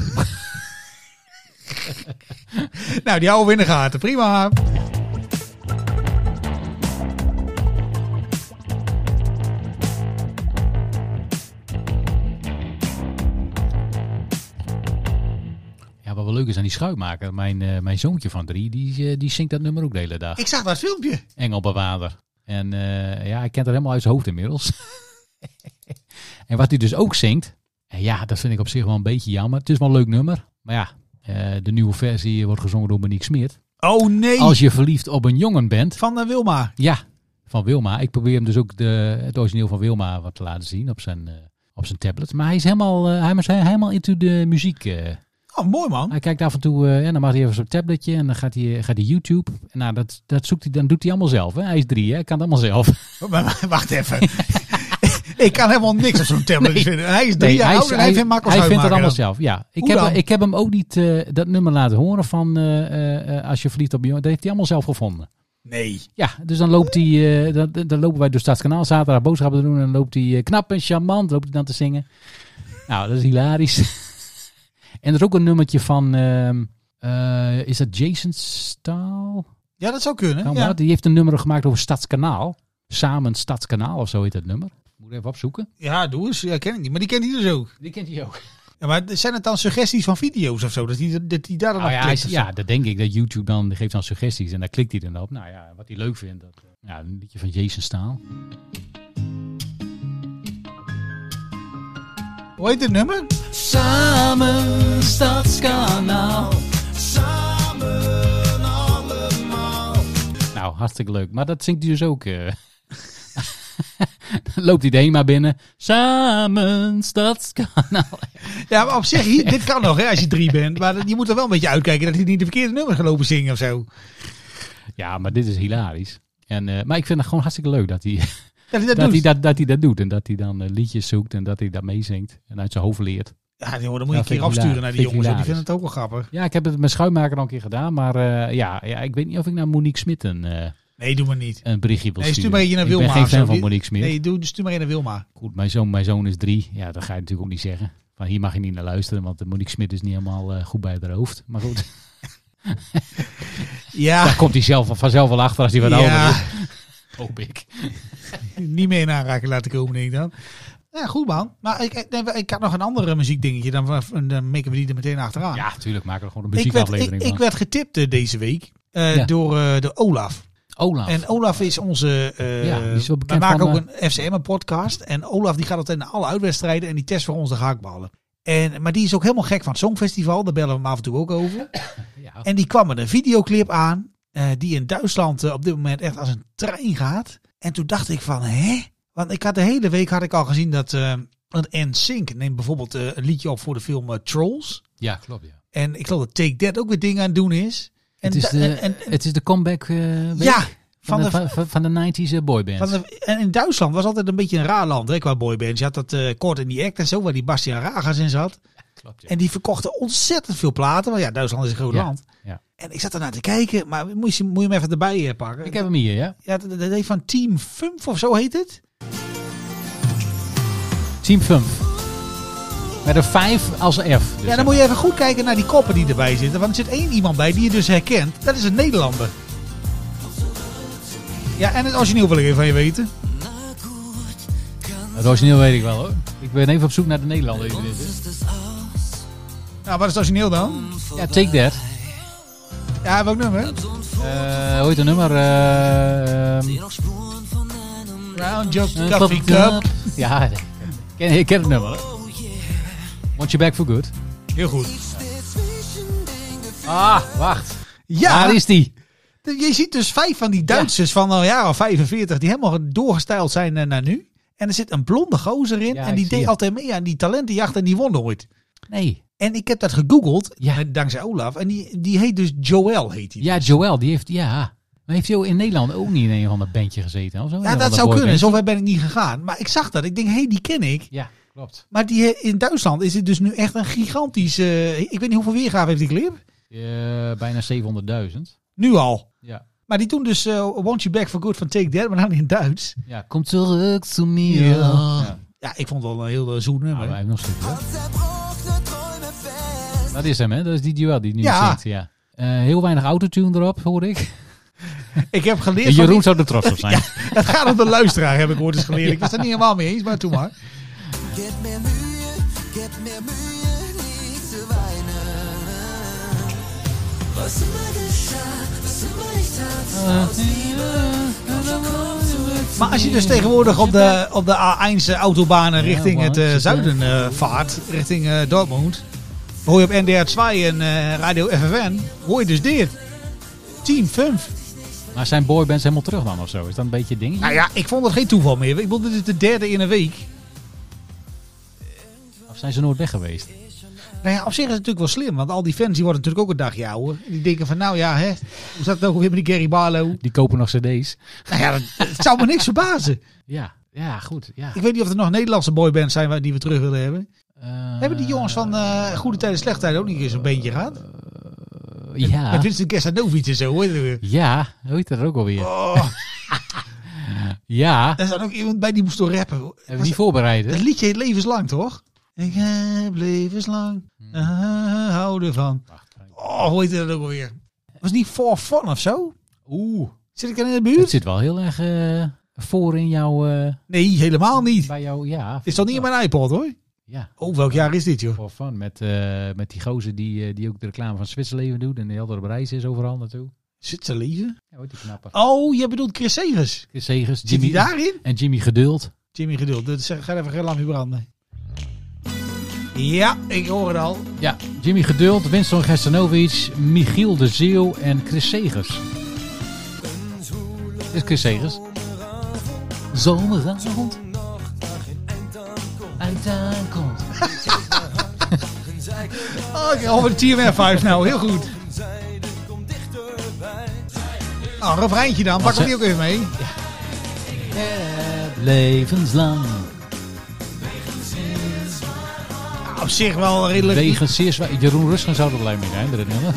Speaker 7: Nou, die houden we in de gaten. Prima.
Speaker 1: Ja, wat wel leuk is aan die schuitmaker. Mijn, eh, mijn zoontje van drie, die, eh, die zingt dat nummer ook de hele dag.
Speaker 7: Ik zag dat filmpje.
Speaker 1: Engel bewaarder. En eh, ja, hij kent dat helemaal uit zijn hoofd inmiddels. (laughs) en wat hij dus ook zingt. En ja, dat vind ik op zich wel een beetje jammer. Het is wel een leuk nummer. Maar ja, eh, de nieuwe versie wordt gezongen door Monique Smeert.
Speaker 7: Oh nee.
Speaker 1: Als je verliefd op een jongen bent.
Speaker 7: Van eh, Wilma.
Speaker 1: Ja, van Wilma. Ik probeer hem dus ook de, het origineel van Wilma wat te laten zien op zijn, eh, op zijn tablet. Maar hij is helemaal, eh, hij is he- helemaal into de muziek. eh.
Speaker 7: Oh, mooi man.
Speaker 1: Hij kijkt af en toe, eh, en dan mag hij even zijn tabletje en dan gaat hij, eh, gaat hij YouTube. En nou, dat, Oh.
Speaker 7: (laughs)
Speaker 1: dat zoekt hij, dan doet hij allemaal zelf. Hè? Hij is drie, hè? hij kan het allemaal zelf.
Speaker 7: Maar- maar- Wacht even. Ik kan helemaal niks op zo'n tablet
Speaker 1: Nee.
Speaker 7: vinden. Hij is drie jaar oud en hij vindt Marco
Speaker 1: hij vindt het
Speaker 7: Schuimaker
Speaker 1: allemaal
Speaker 7: dan.
Speaker 1: zelf. Ja. Ik,
Speaker 7: Hoe
Speaker 1: heb,
Speaker 7: dan?
Speaker 1: ik heb hem ook niet eh, dat nummer laten horen van eh, eh, eh, Als je verliefd op je jongen. Dat heeft hij allemaal zelf gevonden.
Speaker 7: Nee.
Speaker 1: Ja, dus dan, loopt hij, eh, dan, dan lopen wij door Stadskanaal zaterdag boodschappen te doen. En dan loopt hij eh, knap en charmant loopt hij dan te zingen. Nou, dat is hilarisch. (laughs) en er is ook een nummertje van, ehm, eh, is dat Jason Staal?
Speaker 7: Ja, dat zou kunnen.
Speaker 1: Kan
Speaker 7: Ja.
Speaker 1: dat? Die heeft een nummer gemaakt over Stadskanaal. Samen Stadskanaal of zo heet dat nummer. Moet ik even opzoeken.
Speaker 7: ja, doe eens. Ja, ken ik niet. Maar die kent hij dus ook.
Speaker 1: Die kent hij ook.
Speaker 7: Ja, maar zijn het dan suggesties van video's of zo? Dat hij dat hij daar dan
Speaker 1: Nou
Speaker 7: op
Speaker 1: ja,
Speaker 7: klikt
Speaker 1: hij-
Speaker 7: of zo?
Speaker 1: ja, dat denk ik. Dat YouTube dan die geeft dan suggesties en daar klikt hij dan op. Nou ja, wat hij leuk vindt. Dat, eh, ja, een liedje van Jason Staal.
Speaker 7: Hoe heet dit nummer?
Speaker 1: Samen Stadskanaal.
Speaker 5: Samen allemaal.
Speaker 1: Nou, hartstikke leuk. Maar dat zingt hij dus ook. eh. (laughs) Dan loopt hij de HEMA binnen. Samen Stadskanaal.
Speaker 7: Ja, maar op zich, hier- dit kan nog hè, als je drie bent. Maar dat- je moet er wel een beetje uitkijken dat hij niet de verkeerde nummer gaat lopen zingen of zo.
Speaker 1: Ja, maar dit is hilarisch. En, eh, maar ik vind het gewoon hartstikke leuk (laughs) dat hij
Speaker 7: Dat hij
Speaker 1: dat,
Speaker 7: dat, doet.
Speaker 1: hij dat, dat, hij dat doet. En dat hij dan eh, liedjes zoekt en dat hij dat meezingt. En uit zijn hoofd leert.
Speaker 7: Ja, joh, dan moet je
Speaker 1: Ja,
Speaker 7: een
Speaker 1: vind
Speaker 7: keer
Speaker 1: ik
Speaker 7: afsturen naar
Speaker 1: hilarisch.
Speaker 7: die
Speaker 1: Vind
Speaker 7: jongens. hoor.
Speaker 1: ik
Speaker 7: Die vinden het ook wel grappig.
Speaker 1: Ja, ik heb het met Schuimaker al een keer gedaan. Maar eh, ja, ja, ik weet niet of ik naar Monique Smit een, eh,
Speaker 7: Nee, doe maar niet.
Speaker 1: een berichtje wil
Speaker 7: Nee, stuur
Speaker 1: sturen.
Speaker 7: maar je naar
Speaker 1: ik ben
Speaker 7: Wilma.
Speaker 1: geen
Speaker 7: of zo.
Speaker 1: fan van
Speaker 7: Die-
Speaker 1: Monique Smit.
Speaker 7: Nee, doe, stuur maar je naar Wilma.
Speaker 1: Goed, mijn zoon, mijn zoon is drie. Ja, dat ga je natuurlijk ook niet zeggen. Van hier mag je niet naar luisteren, want eh, Monique Smit is niet helemaal eh, goed bij haar hoofd. Maar goed,
Speaker 7: Ja,
Speaker 1: daar komt hij zelf, vanzelf wel achter als hij wat ouder is.
Speaker 7: Ah. ja
Speaker 1: Hoop ik.
Speaker 7: niet meer in aanraking laten komen, denk ik dan. Ja, goed man. Maar ik, ik- nee, ik had nog een andere muziekdingetje. Dan, dan maken we die er meteen achteraan.
Speaker 1: Ja, tuurlijk maken we er gewoon een
Speaker 7: Ah. ik, werd, ik,
Speaker 1: muziekaflevering
Speaker 7: ik werd getipt eh, deze week eh,
Speaker 1: Ja.
Speaker 7: door, eh, door Olaf.
Speaker 1: van. Olaf.
Speaker 7: En Olaf is onze... eh
Speaker 1: Ja, die is wel
Speaker 7: we
Speaker 1: bekend
Speaker 7: maken
Speaker 1: van, eh,
Speaker 7: ook een FCM-podcast. En Olaf die gaat altijd naar alle uitwedstrijden en die test voor ons de haakballen. En, maar die is ook helemaal gek van het Songfestival. Daar bellen we hem af en toe ook over.
Speaker 1: ja.
Speaker 7: En die kwam met een videoclip aan. eh, die in Duitsland eh, op dit moment echt als een trein gaat. En toen dacht ik van, hè? Want ik had de hele week had ik al gezien dat... eh want NSYNC neemt bijvoorbeeld eh, een liedje op voor de film eh, Trolls.
Speaker 1: ja, klopt. Ja.
Speaker 7: En ik geloof dat Take That ook weer dingen aan het doen is. En
Speaker 1: Het, is
Speaker 7: da-
Speaker 1: de,
Speaker 7: en- en-
Speaker 1: het is de comeback eh, week
Speaker 7: ja,
Speaker 1: van, de, van, van- van de 90s eh, boyband.
Speaker 7: van de- en in Duitsland was altijd een beetje een raar land hè, qua boybands. Je had dat eh Kort in die Act en zo, waar die Bastiaan Ragers in zat.
Speaker 1: klopt, ja.
Speaker 7: En die verkochten ontzettend veel platen. Want ja, Duitsland is een groot
Speaker 1: Ja,
Speaker 7: land.
Speaker 1: ja.
Speaker 7: En ik zat ernaar te kijken, maar moet je, moet je hem even erbij eh, pakken.
Speaker 1: Ik heb hem hier, ja.
Speaker 7: Ja, dat, dat heet van Team Fumf of zo heet het.
Speaker 1: Team Fump. Met een 5 als F. Dus
Speaker 7: ja, dan moet je even goed kijken naar die koppen die erbij zitten. Want er zit één iemand bij die je dus herkent. Dat is een Nederlander. Ja, en het origineel wil ik even van je weten.
Speaker 1: Het eh, origineel weet ik wel hoor. Ik ben even op zoek naar de Nederlander. die dit is.
Speaker 7: Nou, wat is het origineel dan?
Speaker 1: Ja, Take That.
Speaker 7: Ja, welk nummer?
Speaker 1: Eh hoe heet het nummer? Eh, ehm,
Speaker 7: Round Job
Speaker 1: eh,
Speaker 7: Nou, Coffee Cup.
Speaker 1: Ja, (laughs) ik ken, ik ken het nummer. hoor. Want je back for good.
Speaker 7: Heel goed.
Speaker 1: Ah, wacht.
Speaker 7: Ja,
Speaker 1: Daar is die.
Speaker 7: je ziet dus vijf van die Duitsers van al jaren of 45 die helemaal doorgestyled zijn eh, naar nu. En er zit een blonde gozer in
Speaker 1: Ja,
Speaker 7: en die
Speaker 1: ik zie
Speaker 7: deed
Speaker 1: het.
Speaker 7: altijd mee aan die talentenjacht en die won nooit.
Speaker 1: Nee.
Speaker 7: En ik heb dat gegoogeld,
Speaker 1: Ja.
Speaker 7: eh, dankzij Olaf. En die, die heet dus Joel, heet hij.
Speaker 1: Ja, Joel, die heeft, ja. Maar heeft hij ook in Nederland ook niet in een of ander bandje gezeten? Of zo?
Speaker 7: Ja, dat zou kunnen. Zover ben ik niet gegaan. Maar ik zag dat. Ik denk, hé, hey, die ken ik.
Speaker 1: Ja, klopt.
Speaker 7: Maar die, eh, in Duitsland is het dus nu echt een gigantische... eh, ik weet niet hoeveel weergave heeft die clip.
Speaker 1: Eh, bijna 700.000.
Speaker 7: Nu al.
Speaker 1: Ja.
Speaker 7: Maar die doen dus eh, Want You Back For Good van Take That, maar dan in Duits.
Speaker 1: ja. Kom terug to me.
Speaker 7: Ja.
Speaker 1: Ja.
Speaker 7: Ja, ik vond het wel een heel eh, zoet
Speaker 1: Ah, maar
Speaker 7: nummer.
Speaker 1: hij heeft nog steeds. hoor.
Speaker 5: Zerbrochene Träume fest.
Speaker 1: Dat is hem, hè? Dat is die Joel die nu
Speaker 7: Ja.
Speaker 1: zingt. Ja. Eh, heel weinig autotune erop, hoor ik.
Speaker 7: ik heb geleerd...
Speaker 1: En
Speaker 7: van
Speaker 1: Jeroen
Speaker 7: die-
Speaker 1: zou er trots op zijn.
Speaker 7: (laughs) Het gaat om de luisteraar, heb ik ooit eens geleerd. Ik was het niet helemaal mee eens, maar toen maar.
Speaker 5: Ik heb meer Mühe, ik heb meer Mühe, niet te weinen. Was immer geschah, was immer ich tat, aus Liebe, doch ich komm zurück zu
Speaker 7: Maar als je dus tegenwoordig op de, op de A1 autobanen richting het eh, zuiden eh, vaart, richting eh, Dortmund, hoor je op NDR 2 en eh, Radio FFN, hoor je dus dit. Team Fünf.
Speaker 1: Maar zijn boybands helemaal terug dan of zo? Is dat een beetje ding?
Speaker 7: Nou ja, ik vond het geen toeval meer. Ik bedoel, dit is de derde in een week.
Speaker 1: Of zijn ze nooit weg geweest?
Speaker 7: Nou ja, op zich is het natuurlijk wel slim, want al die fans die worden natuurlijk ook een dagje ouder. Die denken van, nou ja, hè, hoe zat het ook weer met die Gary Barlow?
Speaker 1: Die kopen nog cd's.
Speaker 7: Nou ja, dat, het zou me niks verbazen.
Speaker 1: Ja. Ja, goed. Ja.
Speaker 7: Ik weet niet of er nog Nederlandse boybands zijn waar- die we terug willen hebben.
Speaker 1: Eh,
Speaker 7: hebben die jongens van eh, Goede Tijden, Slechte Tijden ook niet eens een beentje gehad?
Speaker 1: ja.
Speaker 7: Met Vincent Kerstanovic en zo. Hoor.
Speaker 1: Ja, hoe heet dat ook alweer?
Speaker 7: Oh,
Speaker 1: Ja,
Speaker 7: daar zat ook iemand bij die moest door rappen. hoor.
Speaker 1: hebben we die voorbereid. hè?
Speaker 7: Het liedje heet Levenslang, toch? Ik heb levenslang
Speaker 1: Hmm.
Speaker 7: eh, houden van. Oh, hoe heet dat ook alweer? Was niet For Fun of zo?
Speaker 1: Oeh.
Speaker 7: Zit ik dan in de
Speaker 1: Het
Speaker 7: buurt?
Speaker 1: zit wel heel erg eh, voor in jouw... eh,
Speaker 7: Nee, helemaal niet.
Speaker 1: bij jou, ja.
Speaker 7: Dit is toch niet in mijn iPod, hoor?
Speaker 1: Ja,
Speaker 7: Oh, welk jaar is dit, joh?
Speaker 1: voor fun. Met, eh, met die gozer die, eh, die ook de reclame van Zwitserleven doet. En die altijd op reis is overal naartoe.
Speaker 7: Zit ze leven?
Speaker 1: Ja, hoe heet die knapper?
Speaker 7: Oh, je bedoelt Chris Segers.
Speaker 1: Chris Segers,
Speaker 7: Zit
Speaker 1: Jimmy
Speaker 7: hij daarin?
Speaker 1: en Jimmy Geduld.
Speaker 7: Jimmy Geduld, dat is- ga even geen lampje branden. Ja, ik hoor het al.
Speaker 1: Ja, Jimmy Geduld, Winston Gerstanovic, Michiel de Zeeuw en Chris Segers. Dit is Chris Segers. Zomeravond. Eind aankomt.
Speaker 7: Oh, ik hoor de TMF 5 nou, heel goed. Oh, een refreintje dan, pak hem die ook even mee.
Speaker 1: Levenslang.
Speaker 7: Ja, op zich wel redelijk.
Speaker 1: Wegen zeer zwaar. Jeroen Rusgen zou er blij mee zijn. met dit nummer.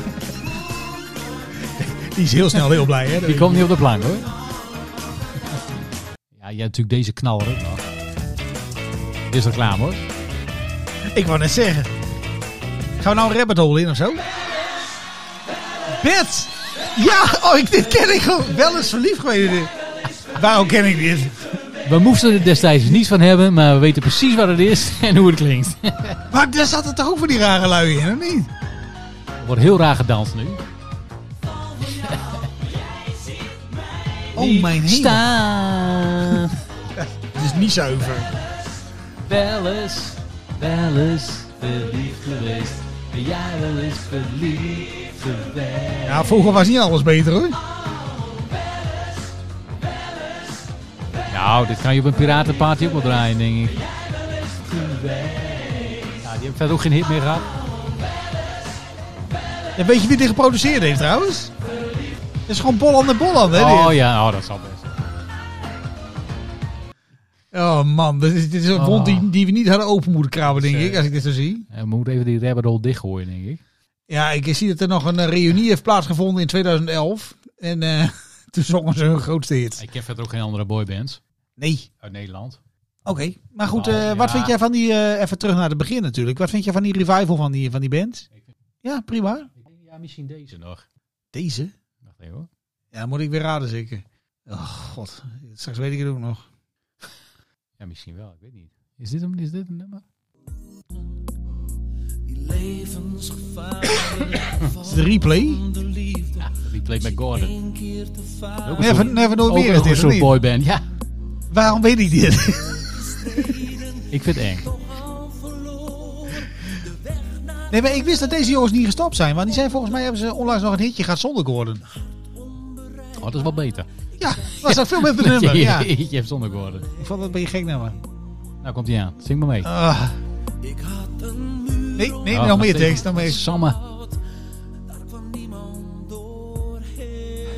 Speaker 7: Die is heel snel heel blij, hè?
Speaker 1: Die komt niet op de plank hoor. Ja, je hebt natuurlijk deze knaller ook nog. Dit is reclame hoor.
Speaker 7: Ik wou net zeggen. Gaan we nou een rabbit hole in of zo? Bert! Ja, oh, ik, dit ken ik gewoon. Wel eens verliefd geweest. in dit. Waarom ken ik dit?
Speaker 1: We moesten er destijds niet van hebben, maar we weten precies wat het is (laughs) en hoe het klinkt.
Speaker 7: Maar daar zat het toch ook voor die rare lui in, of niet?
Speaker 1: Er wordt heel raar gedanst nu.
Speaker 7: Oh, mijn hemel.
Speaker 1: Staan.
Speaker 7: Het is niet zuiver.
Speaker 1: Wel eens, wel eens verliefd geweest. Ben jij wel eens verliefd geweest?
Speaker 7: Ja, vroeger was niet alles beter, hoor.
Speaker 1: Nou, dit kan je op een piratenparty ook wel draaien, denk ik. Ja, die hebben verder ook geen hit meer gehad.
Speaker 7: En weet je wie dit geproduceerd heeft, trouwens? Het is gewoon Bolland en Bolland, hè?
Speaker 1: Oh
Speaker 7: dit?
Speaker 1: ja, oh, dat zal best.
Speaker 7: Oh, man. Dit is, dit is een
Speaker 1: Oh.
Speaker 7: wond die, die we niet hadden open moeten krabben, denk
Speaker 1: Zeker.
Speaker 7: ik, als ik dit zo zie.
Speaker 1: Eh, We moeten even die rabbit hole dichtgooien, denk ik.
Speaker 7: Ja, ik zie dat er nog een eh, reunie heeft plaatsgevonden in 2011. En eh, (laughs) toen zongen ze hun grootste hit.
Speaker 1: Ik heb verder ook geen andere boybands
Speaker 7: Nee.
Speaker 1: uit Nederland.
Speaker 7: Oké. Maar goed,
Speaker 1: Oh,
Speaker 7: eh,
Speaker 1: ja.
Speaker 7: wat vind jij van die... eh, even terug naar het begin natuurlijk. Wat vind jij van die revival van die, van die band? Ja, prima.
Speaker 1: Ja, misschien deze nog.
Speaker 7: Deze?
Speaker 1: Wacht even hoor.
Speaker 7: Ja, dan moet ik weer raden zeker. Oh, god. Straks weet ik het ook nog.
Speaker 1: Ja, misschien wel. Ik weet niet. Is dit een, is dit een nummer?
Speaker 7: Is het een replay?
Speaker 1: Ja, die played bij Gordon. Ook een
Speaker 7: Never,
Speaker 1: soort-
Speaker 7: never nooit
Speaker 1: ook
Speaker 7: meer is
Speaker 1: een
Speaker 7: dit, of
Speaker 1: soort
Speaker 7: niet?
Speaker 1: boyband. Ja,
Speaker 7: Waarom weet ik dit? (laughs)
Speaker 1: ik vind het eng.
Speaker 7: Nee, maar ik wist dat deze jongens niet gestopt zijn. Want die zijn volgens mij... Hebben ze onlangs nog een hitje gehad zonder Gordon.
Speaker 1: Oh, dat is wel (laughs) beter.
Speaker 7: Ja, was dat veel (laughs) beter nummer. Ja.
Speaker 1: (laughs) Je hebt zonder Gordon.
Speaker 7: Ik vond dat een beetje gek nummer.
Speaker 1: Nou komt hij aan. Zing maar mee.
Speaker 7: Ah. Nee, nee,
Speaker 1: Oh,
Speaker 7: nog meer
Speaker 1: steeds.
Speaker 7: tekst. Nog meer.
Speaker 1: Samme.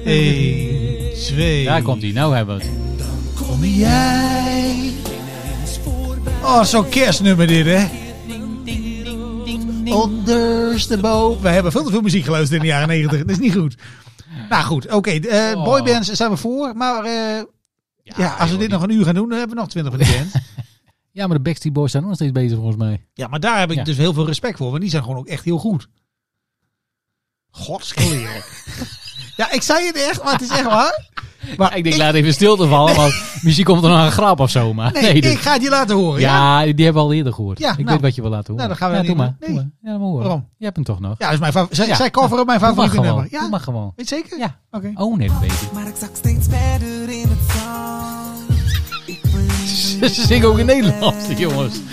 Speaker 7: Eén, twee.
Speaker 1: Daar komt hij. Nou hebben we het.
Speaker 7: Kom jij. Oh, zo'n kerstnummer dit, hè? Ondersteboven. We hebben veel te veel muziek geluisterd in de jaren 90. Dat is niet goed. Nou goed, oké. eh,
Speaker 1: Oh.
Speaker 7: Boybands zijn we voor. Maar eh, ja, als we
Speaker 1: joh,
Speaker 7: dit nog een uur gaan doen, dan hebben we nog 20 van die band.
Speaker 1: Ja, maar de Backstreet Boys zijn ook nog steeds bezig volgens mij.
Speaker 7: Ja, maar daar heb ik
Speaker 1: Ja.
Speaker 7: dus heel veel respect voor, want die zijn gewoon ook echt heel goed.
Speaker 1: (laughs)
Speaker 7: Godskleren. ja, ik zei het echt, maar het is echt waar. Maar
Speaker 1: Ik denk, laat even stil te vallen, want misschien komt er nog een grap of zo. Maar
Speaker 7: nee,
Speaker 1: dit-
Speaker 7: ik ga het je laten horen. Oh Ja,
Speaker 1: dus- Ja, die hebben we al eerder gehoord.
Speaker 7: Ja,
Speaker 1: ik
Speaker 7: nou.
Speaker 1: weet wat je wil laten horen.
Speaker 7: Nou, dan gaan we
Speaker 1: ja,
Speaker 7: dat
Speaker 1: doe
Speaker 7: niet
Speaker 1: maar.
Speaker 7: doen.
Speaker 1: Doe maar. Ja, laat maar horen.
Speaker 7: Waarom?
Speaker 1: Je hebt hem toch nog.
Speaker 7: ja is mijn favor- zij,
Speaker 1: Ja.
Speaker 7: zij coveren mijn
Speaker 1: Doe maar
Speaker 7: favoriete
Speaker 1: gewoon.
Speaker 7: nummer. Ja,
Speaker 1: Doe maar gewoon.
Speaker 7: weet je zeker?
Speaker 1: Ja. Oh.
Speaker 7: Oké.
Speaker 1: Own it,
Speaker 7: (laughs)
Speaker 1: baby.
Speaker 5: Maar ik zak steeds verder in het zand. Ik wil niet
Speaker 1: Ze zingen ook in Nederlands, die jongens. (laughs)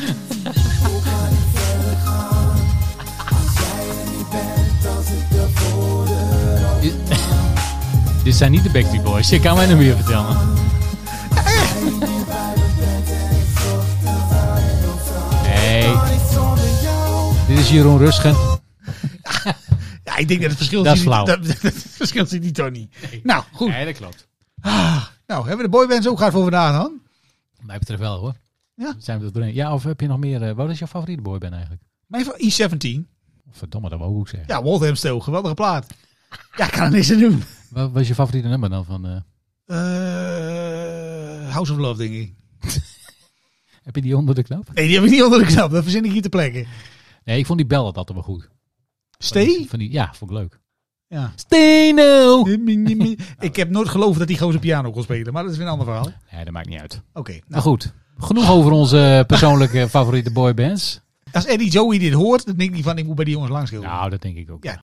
Speaker 1: Dit- Dit zijn niet de Backstreet Boys. Je kan mij nog meer vertellen. Nee,
Speaker 5: zonder jou.
Speaker 1: dit is Jeroen Rusgen.
Speaker 7: Ja, ik denk dat het verschil
Speaker 1: Dat is
Speaker 7: zit
Speaker 1: flauw.
Speaker 7: niet- Dat, (laughs) dat het verschil zit niet, Tony. Nou, goed.
Speaker 1: Nee, dat klopt.
Speaker 7: Nou, hebben we de boybands ook gehad voor vandaag dan?
Speaker 1: Mij betreft wel hoor.
Speaker 7: Ja?
Speaker 1: Zijn we er doorheen? Ja, of heb je nog meer? eh, wat is jouw favoriete boyband eigenlijk?
Speaker 7: Mijn van E17.
Speaker 1: Verdomme, dat wou ik ook zeggen.
Speaker 7: Ja, Waltham Steel, geweldige plaat. Ja, ik kan er niks aan doen.
Speaker 1: Wat was je favoriete nummer dan? Van, eh,
Speaker 7: Eh, House of Love, denk ik.
Speaker 1: heb je die onder de knop?
Speaker 7: Nee, die heb ik niet onder de knap. Dat verzin ik hier te plekken.
Speaker 1: Nee, ik vond die bellen altijd wel goed.
Speaker 7: Stee?
Speaker 1: Van die, ja, vond ik leuk.
Speaker 7: Ja.
Speaker 1: Steno! (laughs)
Speaker 7: Ik heb nooit geloofd dat die gozer piano kon spelen, maar dat is weer een ander verhaal. Oké,
Speaker 1: Nee, dat maakt niet uit.
Speaker 7: nou,
Speaker 1: Maar goed, genoeg over onze eh,
Speaker 7: (laughs)
Speaker 1: persoonlijke favoriete boybands.
Speaker 7: als Eddie Joey dit hoort, dan denkt hij van, ik moet bij die jongens langs schilderen.
Speaker 1: Nou, dat denk ik ook.
Speaker 7: Ja.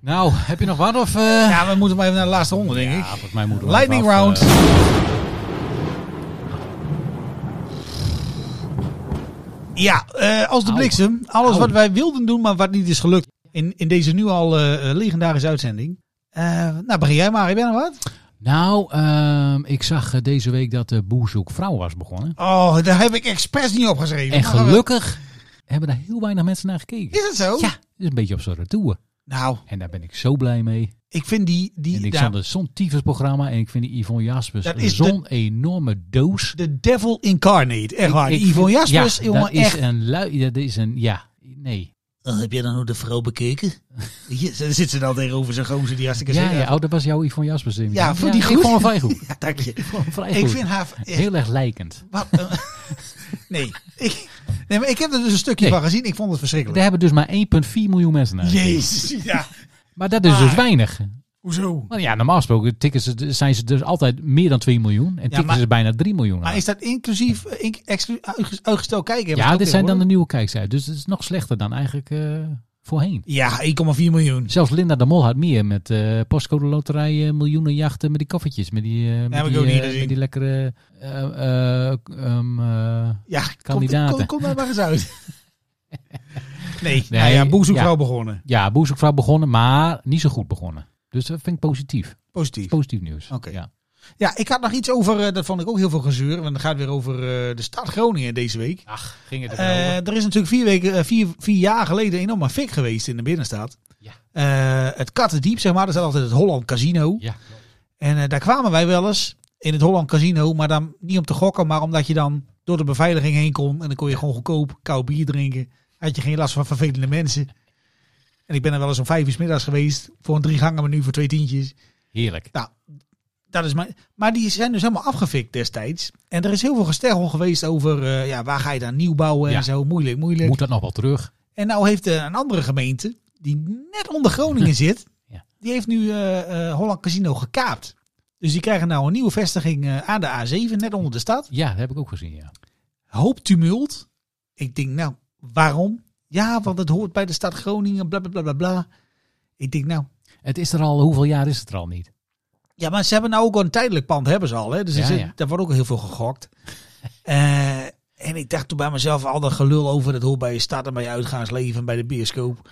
Speaker 1: Nou, heb je nog wat? Of, eh?
Speaker 7: Ja, we moeten maar even naar de laatste ronde, denk ik.
Speaker 1: Ja, volgens mij moeten we
Speaker 7: Lightning
Speaker 1: even af,
Speaker 7: round.
Speaker 1: eh,
Speaker 7: Ja, eh, als de
Speaker 1: Au.
Speaker 7: bliksem. Alles
Speaker 1: Au.
Speaker 7: wat wij wilden doen, maar wat niet is gelukt. In, in deze nu al eh, eh, legendarische uitzending. Eh, nou, begin jij maar. Ik ben er wat.
Speaker 1: nou, ehm, ik zag eh, deze week dat de Boer Zoekt Vrouw was begonnen.
Speaker 7: Oh, daar heb ik expres niet op geschreven.
Speaker 1: En
Speaker 7: Maar we-
Speaker 1: gelukkig hebben daar heel weinig mensen naar gekeken.
Speaker 7: Is dat zo?
Speaker 1: Ja, dat is een beetje op zijn retour.
Speaker 7: Nou,
Speaker 1: En daar ben ik zo blij mee.
Speaker 7: ik vind die... die
Speaker 1: En ik dus-
Speaker 7: daar-
Speaker 1: vond het zo'n tyfusprogramma. En ik vind die Yvonne Jaspers
Speaker 7: Dat is de-
Speaker 1: zo'n enorme doos.
Speaker 7: de devil incarnate. Echt waar.
Speaker 1: Ik-
Speaker 7: Die Yvonne
Speaker 1: ja,
Speaker 7: Jaspers, jongen,
Speaker 1: dat is
Speaker 7: echt.
Speaker 1: een lui... Dat is een... Ja, nee.
Speaker 7: Oh, heb jij dan ook de vrouw bekeken? Hier zit ze dan tegenover zijn gozer die hartstikke
Speaker 1: Ja,
Speaker 7: zin heeft.
Speaker 1: ja, oh, dat was jouw Yvonne Jaspers. denk ik.
Speaker 7: Ja, vond die
Speaker 1: Ik
Speaker 7: goed?
Speaker 1: vond hem vrij goed.
Speaker 7: (laughs) Ja, dank je.
Speaker 1: Ik vond hem vrij
Speaker 7: Ik
Speaker 1: goed.
Speaker 7: vind haar...
Speaker 1: Heel erg lijkend.
Speaker 7: Wat, eh, (laughs) nee. Ik, nee, maar ik heb er dus een stukje
Speaker 1: Nee.
Speaker 7: van gezien. Ik vond het verschrikkelijk.
Speaker 1: Daar hebben dus maar 1,4 miljoen mensen naar. gekeken.
Speaker 7: Jezus, ja.
Speaker 1: Maar dat is dus weinig.
Speaker 7: Hoezo?
Speaker 1: Want ja, normaal gesproken tikken ze, zijn ze dus altijd meer dan 2 miljoen. En tikken
Speaker 7: maar-
Speaker 1: ze bijna 3 miljoen.
Speaker 7: Maar
Speaker 1: aan.
Speaker 7: is dat inclusief eh, in- exclu- uitges- uitgesteld kijken? Hebben
Speaker 1: ja,
Speaker 7: ze dat
Speaker 1: dit zijn dan de
Speaker 7: tegenwoordig?
Speaker 1: nieuwe kijkcijfers. Dus het is nog slechter dan eigenlijk eh, voorheen.
Speaker 7: Ja, 1,4 miljoen.
Speaker 1: Zelfs Linda de Mol had meer met eh, postcode loterij, eh, miljoenenjachten met die koffertjes. Met die, eh, met,
Speaker 7: heb ik
Speaker 1: die,
Speaker 7: ook niet
Speaker 1: eh,
Speaker 7: gezien.
Speaker 1: met die lekkere eh, eh, ehm, eh,
Speaker 7: Ja,
Speaker 1: Kandidaten.
Speaker 7: Kom, kom, kom daar maar eens
Speaker 1: (laughs)
Speaker 7: uit. nee,
Speaker 1: Nee,
Speaker 7: nou ja, boezoekvrouw
Speaker 1: ja.
Speaker 7: begonnen.
Speaker 1: Ja, boezekvrouw begonnen, maar niet zo goed begonnen. Dus dat vind ik positief.
Speaker 7: Positief.
Speaker 1: Positief nieuws.
Speaker 7: Oké.
Speaker 1: Ja.
Speaker 7: Ja, ik had nog iets over, eh, dat vond ik ook heel veel gezeur, want het gaat weer over eh, de stad Groningen deze week.
Speaker 1: Ach, ging het
Speaker 7: Eh, er is natuurlijk vier, weken, eh, vier, vier jaar geleden enorm maar fik geweest in de binnenstad.
Speaker 1: Ja.
Speaker 7: Eh, het Kattendiep, zeg maar, dat is altijd het Holland Casino.
Speaker 1: Ja.
Speaker 7: En eh, daar kwamen wij wel eens in het Holland Casino, maar dan niet om te gokken, maar omdat je dan door de beveiliging heen kon en dan kon je gewoon goedkoop koud bier drinken. Had je geen last van vervelende mensen. En ik ben er wel eens om vijf uur 's middags geweest voor een drie gangen menu voor twee tientjes.
Speaker 1: Heerlijk.
Speaker 7: Dat is maar, maar die zijn dus helemaal afgefikt destijds. En er is heel veel gestergel geweest over eh, ja, waar ga je dan nieuw bouwen
Speaker 1: Ja.
Speaker 7: en zo. Moeilijk, moeilijk.
Speaker 1: Moet dat nog wel terug?
Speaker 7: En nou heeft eh, een andere gemeente, die net onder Groningen zit,
Speaker 1: Ja.
Speaker 7: die heeft nu eh, eh, Holland Casino gekaapt. Dus die krijgen nou een nieuwe vestiging eh, aan de A7, net onder de stad.
Speaker 1: Ja, dat heb ik ook gezien, ja.
Speaker 7: Hoop tumult. Ik denk, nou, waarom? Ja, want het hoort bij de stad Groningen, bla bla bla bla bla. Ik denk, nou,
Speaker 1: Het is er al, hoeveel jaar is het er al niet?
Speaker 7: ja, maar ze hebben nou ook al een tijdelijk pand, hebben ze al. Hè? Dus er
Speaker 1: Ja,
Speaker 7: zit-
Speaker 1: ja.
Speaker 7: daar wordt ook heel veel
Speaker 1: (laughs)
Speaker 7: gegokt. Eh, en ik dacht toen bij mezelf, al dat gelul over, dat hoort bij je stad en bij je uitgaansleven en bij de bioscoop.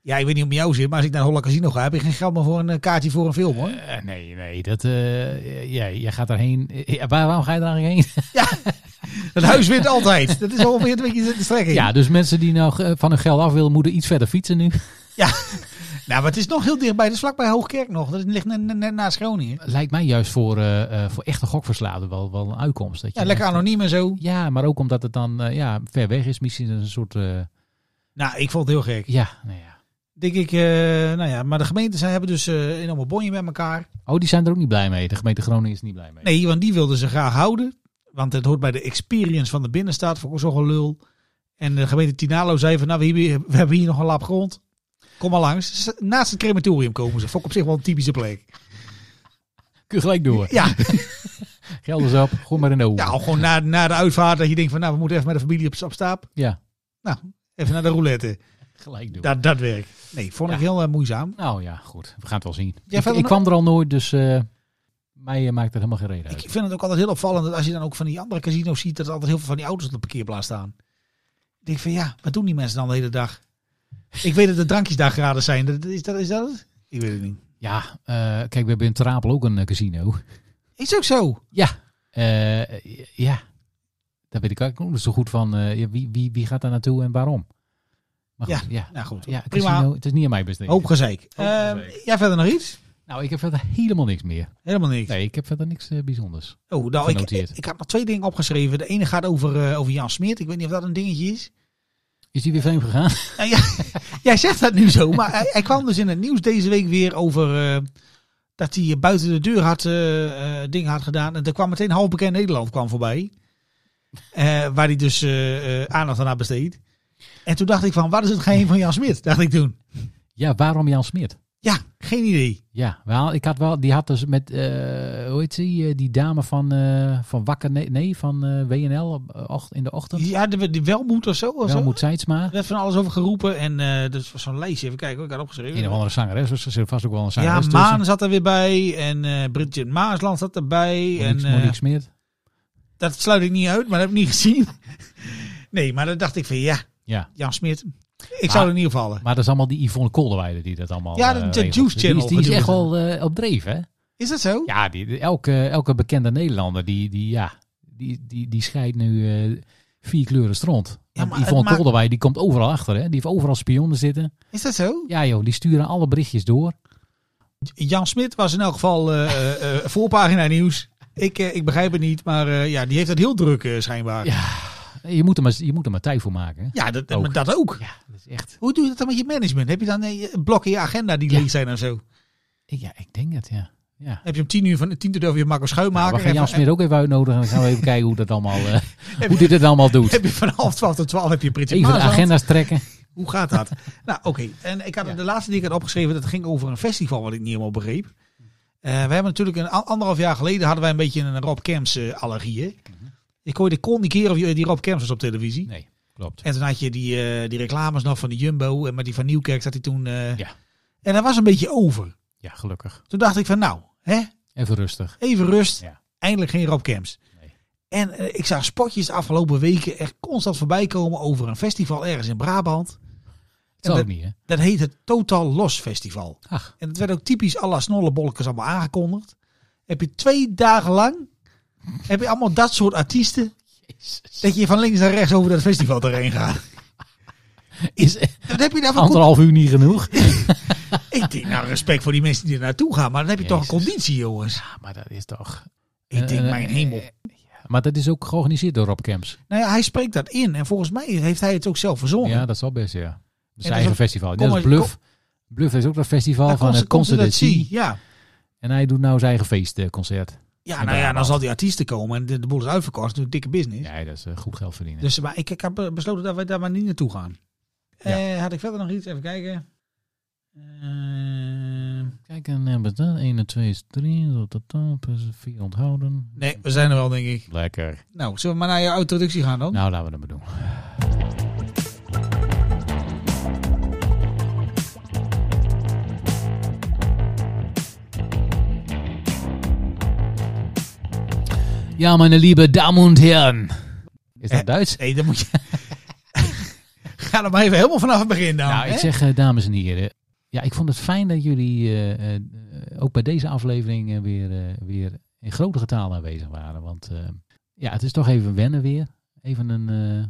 Speaker 7: Ja, ik weet niet om jou zit, maar als ik naar Holla Casino ga, heb ik geen geld meer voor een eh, kaartje voor een film hoor.
Speaker 1: Eh, nee, nee, dat, eh, ja, je gaat daarheen. Eh, ja, waar, waarom ga je daar eigenlijk heen?
Speaker 7: Het huis wint altijd. Dat is ongeveer een beetje de strekking.
Speaker 1: (laughs) Ja, dus mensen die nou eh, van hun geld af willen, moeten iets verder fietsen nu.
Speaker 7: ja. Nou, maar het is nog heel dichtbij. Het is vlakbij Hoogkerk nog. Dat ligt net, net- net naast Groningen.
Speaker 1: Lijkt mij juist voor, eh, eh, voor echte gokverslaafden wel, wel een uitkomst. Dat je
Speaker 7: Ja, lekker
Speaker 1: echt-
Speaker 7: anoniem en zo.
Speaker 1: Ja, maar ook omdat het dan eh, ja, ver weg is. Misschien een soort... eh,
Speaker 7: Nou, ik vond het heel gek.
Speaker 1: ja, nou ja.
Speaker 7: Denk ik, eh, nou ja, maar de gemeenten zijn, hebben dus eh enorme bonje met elkaar.
Speaker 1: Oh, die zijn er ook niet blij mee. De gemeente Groningen is niet blij mee.
Speaker 7: Nee, want die wilden ze graag houden. Want het hoort bij de experience van de binnenstad. Vond ik ook zo'n gelul. En de gemeente Tinalo zei van, nou, we, hebben- we hebben hier nog een lap grond. Kom maar langs. Dus Naast het crematorium komen ze. Vond ik op zich wel een typische plek.
Speaker 1: Kun je gelijk door.
Speaker 7: Ja,
Speaker 1: (laughs)
Speaker 7: Nou.
Speaker 1: Geld is op. Gooi maar in de oven.
Speaker 7: ja gewoon na, na de uitvaart dat je denkt van, nou, we moeten even met de familie op, op stap.
Speaker 1: Ja,
Speaker 7: Nou, even naar de roulette.
Speaker 1: gelijk door.
Speaker 7: Dat, dat werkt. Nee, vond ik heel eh, moeizaam.
Speaker 1: Nou ja, goed. We gaan het wel zien.
Speaker 7: Ja,
Speaker 1: ik,
Speaker 7: verder
Speaker 1: ik kwam er al nooit, dus eh, mij eh, maakt er helemaal geen reden uit.
Speaker 7: Ik vind het ook altijd heel opvallend dat als je dan ook van die andere casino's ziet, dat er altijd heel veel van die auto's op de parkeerplaats staan. Ik denk van ja, wat doen die mensen dan de hele dag? Ik weet dat de drankjes daar gratis zijn. Dat- Is dat, is dat het? Ik weet het niet.
Speaker 1: Ja, eh, kijk, we hebben in Terapel ook een eh, casino.
Speaker 7: Is ook zo.
Speaker 1: Ja. Eh, ja. Daar weet ik ook nog niet zo goed van. eh, ja, wie, wie, wie gaat daar naartoe en waarom? Maar
Speaker 7: Ja,
Speaker 1: goed, ja.
Speaker 7: nou goed.
Speaker 1: Ja, het, is
Speaker 7: prima.
Speaker 1: niet, het is niet aan mij besteed.
Speaker 7: Hoop gezeik.
Speaker 1: Hoop
Speaker 7: Eh,
Speaker 1: gezeik.
Speaker 7: jij verder nog iets?
Speaker 1: Nou, ik heb verder helemaal niks meer.
Speaker 7: Helemaal niks.
Speaker 1: Nee, ik heb verder niks eh, bijzonders.
Speaker 7: Oh, nou, ik,
Speaker 1: Genoteerd.
Speaker 7: ik had nog twee dingen opgeschreven. De ene gaat over, eh, over Jan Smeert. Ik weet niet of dat een dingetje is.
Speaker 1: Is die weer vreemd gegaan? (laughs)
Speaker 7: Nou, ja, jij zegt dat nu zo, maar hij, hij kwam dus in het nieuws deze week weer over eh, dat hij buiten de deur had, eh, eh, dingen had gedaan. En er kwam meteen halfbekend Nederland kwam voorbij. Eh, waar hij dus eh, eh, aandacht aan had besteed. En toen dacht ik van, wat is het geheim van Jan Smit? Dacht ik toen.
Speaker 1: Ja, waarom Jan Smit?
Speaker 7: Ja, geen idee.
Speaker 1: Ja, wel, ik had wel, die had dus met, eh, hoe heet die, eh, die dame van, eh, van Wakker, nee, nee van eh, WNL op- och- in de ochtend.
Speaker 7: Ja, de, de welmoed of zo. Of zo.
Speaker 1: Welmoed Seidsma.
Speaker 7: Er werd van alles over geroepen. En eh dus was zo'n lijstje. Even kijken, hoor, ik had opgeschreven.
Speaker 1: Een of andere zangeres, dus er zit vast ook wel een
Speaker 7: ja,
Speaker 1: zangeres tussen.
Speaker 7: Maan zat er weer bij. En eh Bridget Maasland zat erbij. en,
Speaker 1: Monique,
Speaker 7: eh,
Speaker 1: Monique Smeert.
Speaker 7: Dat sluit ik niet uit, maar dat heb ik niet (laughs) gezien. Nee, maar dan dacht ik van ja,
Speaker 1: Ja.
Speaker 7: Jan Smit. Ik zou er niet op vallen.
Speaker 1: Maar dat is allemaal die Yvonne Kolderweide die dat allemaal
Speaker 7: Ja, dat-
Speaker 1: eh,
Speaker 7: dat
Speaker 1: regelt.
Speaker 7: Juice
Speaker 1: Dus die is-
Speaker 7: Channel
Speaker 1: Die is, echt
Speaker 7: gedoe.
Speaker 1: wel eh, op dreef, hè?
Speaker 7: Is dat zo?
Speaker 1: Ja, die, die- elke, elke bekende Nederlander die, die, ja, die, die, die scheidt nu eh, vier kleuren stront.
Speaker 7: maar
Speaker 1: Want
Speaker 7: het
Speaker 1: Yvonne
Speaker 7: maakt-
Speaker 1: Kolderweide die komt overal achter, hè? Die heeft overal spionnen zitten.
Speaker 7: Is dat zo?
Speaker 1: Ja joh, die sturen alle berichtjes door.
Speaker 7: Jan Smit was in elk geval eh, eh, eh, voorpagina nieuws. Ik, eh, ik begrijp het niet, maar eh, ja, die heeft het heel druk eh, schijnbaar. Ja,
Speaker 1: Ja. Eh, Je moet er maar, je moet er maar tijd voor maken. Hè?
Speaker 7: dat,
Speaker 1: Ook.
Speaker 7: maar dat ook.
Speaker 1: Ja, dat is echt.
Speaker 7: Hoe doe je dat dan met je management? Heb je dan eh, je- blokken in je agenda die
Speaker 1: Ja.
Speaker 7: leeg zijn en zo?
Speaker 1: Ik- Ja, ik denk het, ja. ja.
Speaker 7: Heb je om tien uur van de tien tot over je Marco Schuimaker?
Speaker 1: we gaan Nou, Jan
Speaker 7: en van-
Speaker 1: Smit ook even uitnodigen. En dan gaan we even kijken hoe, dat allemaal, (laughs) eh, hoe dit het allemaal doet.
Speaker 7: Heb je van half twaalf tot twaalf heb je Bridget
Speaker 1: Even de
Speaker 7: Maasland?
Speaker 1: agenda's trekken.
Speaker 7: Hoe gaat dat? (laughs) nou, oké. En ik had de laatste die ik had opgeschreven, dat ging over een festival wat ik niet helemaal begreep.
Speaker 1: Hm.
Speaker 7: Eh, we hebben natuurlijk een a- anderhalf jaar geleden hadden wij een beetje een Rob Camps eh, allergie. hè? Ik hoorde kon niet keer of je- die Rob Camps was op televisie.
Speaker 1: Hm. Nee, klopt.
Speaker 7: En toen had je die, eh, die reclames nog van de Jumbo en met die van Nieuwkerk zat hij toen. eh,
Speaker 1: Ja.
Speaker 7: En dat was een beetje over.
Speaker 1: Ja, gelukkig.
Speaker 7: Toen dacht ik van nou, hè,
Speaker 1: Even rustig.
Speaker 7: even rust.
Speaker 1: Ja.
Speaker 7: Eindelijk geen Rob Camps.
Speaker 1: Nee.
Speaker 7: En eh, ik zag spotjes de afgelopen weken echt constant voorbij komen over een festival ergens in Brabant.
Speaker 1: Dat zal
Speaker 7: dat-
Speaker 1: ook niet, hè?
Speaker 7: Dat heet het Total Los Festival.
Speaker 1: Ach,
Speaker 7: En het werd ook typisch alle snollebolkers allemaal aangekondigd. Heb je twee dagen lang, heb je allemaal dat soort artiesten, dat je van links naar rechts over dat festivalterrein gaat.
Speaker 1: (laughs) is
Speaker 7: Wat heb je daarvan?
Speaker 1: anderhalf uur niet genoeg?
Speaker 7: Ik denk nou respect voor die mensen die er naartoe gaan, maar dan heb je toch een
Speaker 1: Jezus.
Speaker 7: conditie jongens.
Speaker 1: Ja, (laughs) maar dat is toch...
Speaker 7: Ik denk
Speaker 1: Eh,
Speaker 7: mijn
Speaker 1: eh,
Speaker 7: hemel.
Speaker 1: Maar dat is ook georganiseerd door Rob Camps.
Speaker 7: Nou ja, hij spreekt dat in en volgens mij heeft hij het ook zelf verzonnen.
Speaker 1: Ja, dat zal best, ja. Dat is
Speaker 7: dat
Speaker 1: eigen
Speaker 7: is-
Speaker 1: festival.
Speaker 7: kom
Speaker 1: Net als
Speaker 7: maar-
Speaker 1: Bluff. Bluff is ook dat festival
Speaker 7: Daar
Speaker 1: van
Speaker 7: komt-
Speaker 1: het
Speaker 7: komt
Speaker 1: Concert
Speaker 7: het
Speaker 1: at Sea.
Speaker 7: Ja.
Speaker 1: En hij doet nou zijn eigen feestconcert.
Speaker 7: ja,
Speaker 1: In
Speaker 7: nou ja, dan
Speaker 1: Brabant.
Speaker 7: zal die artiesten komen en de, de boel is uitverkocht. Dat is natuurlijk dikke business.
Speaker 1: Ja, dat is eh, goed geld verdienen.
Speaker 7: Dus maar ik, ik heb eh, besloten dat wij daar maar niet naartoe gaan.
Speaker 1: Ja.
Speaker 7: Eh, had ik verder nog iets? Even kijken. Eh,
Speaker 1: Kijk, en hebben we dat. 1, en 2 is 3. Dat, dat, plus 4 onthouden.
Speaker 7: nee, we zijn er wel, denk ik.
Speaker 1: Lekker.
Speaker 7: Nou, zullen we maar naar je introductie gaan dan?
Speaker 1: Nou, laten we dat maar doen. Ja, mijn lieve dames en heren. Is dat
Speaker 7: Eh,
Speaker 1: Duits?
Speaker 7: Nee, dan moet je... (laughs) Ga er maar even helemaal vanaf het begin dan.
Speaker 1: Nou,
Speaker 7: hè?
Speaker 1: ik zeg, eh, dames en heren. Ja, ik vond het fijn dat jullie eh, eh, ook bij deze aflevering eh, weer, eh, weer in grote getalen aanwezig waren. Want eh, ja, het is toch even wennen weer. Even een, eh,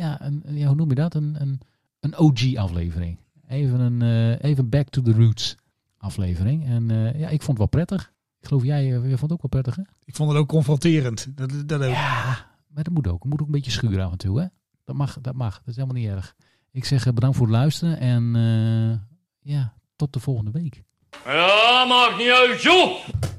Speaker 1: ja, een ja, hoe noem je dat? Een, een, een OG-aflevering. Even een eh, even back to the roots aflevering. En eh, ja, ik vond het wel prettig. Ik geloof jij, eh, je vond het ook wel prettig, hè?
Speaker 7: Ik vond het ook confronterend. Dat, dat ook.
Speaker 1: Ja, maar dat moet ook. Het moet ook een beetje schuren af en toe, hè? Dat mag, dat mag. Dat is helemaal niet erg. Ik zeg eh, bedankt voor het luisteren en eh, ja, tot de volgende week.
Speaker 3: Ja, maakt niet uit, joh!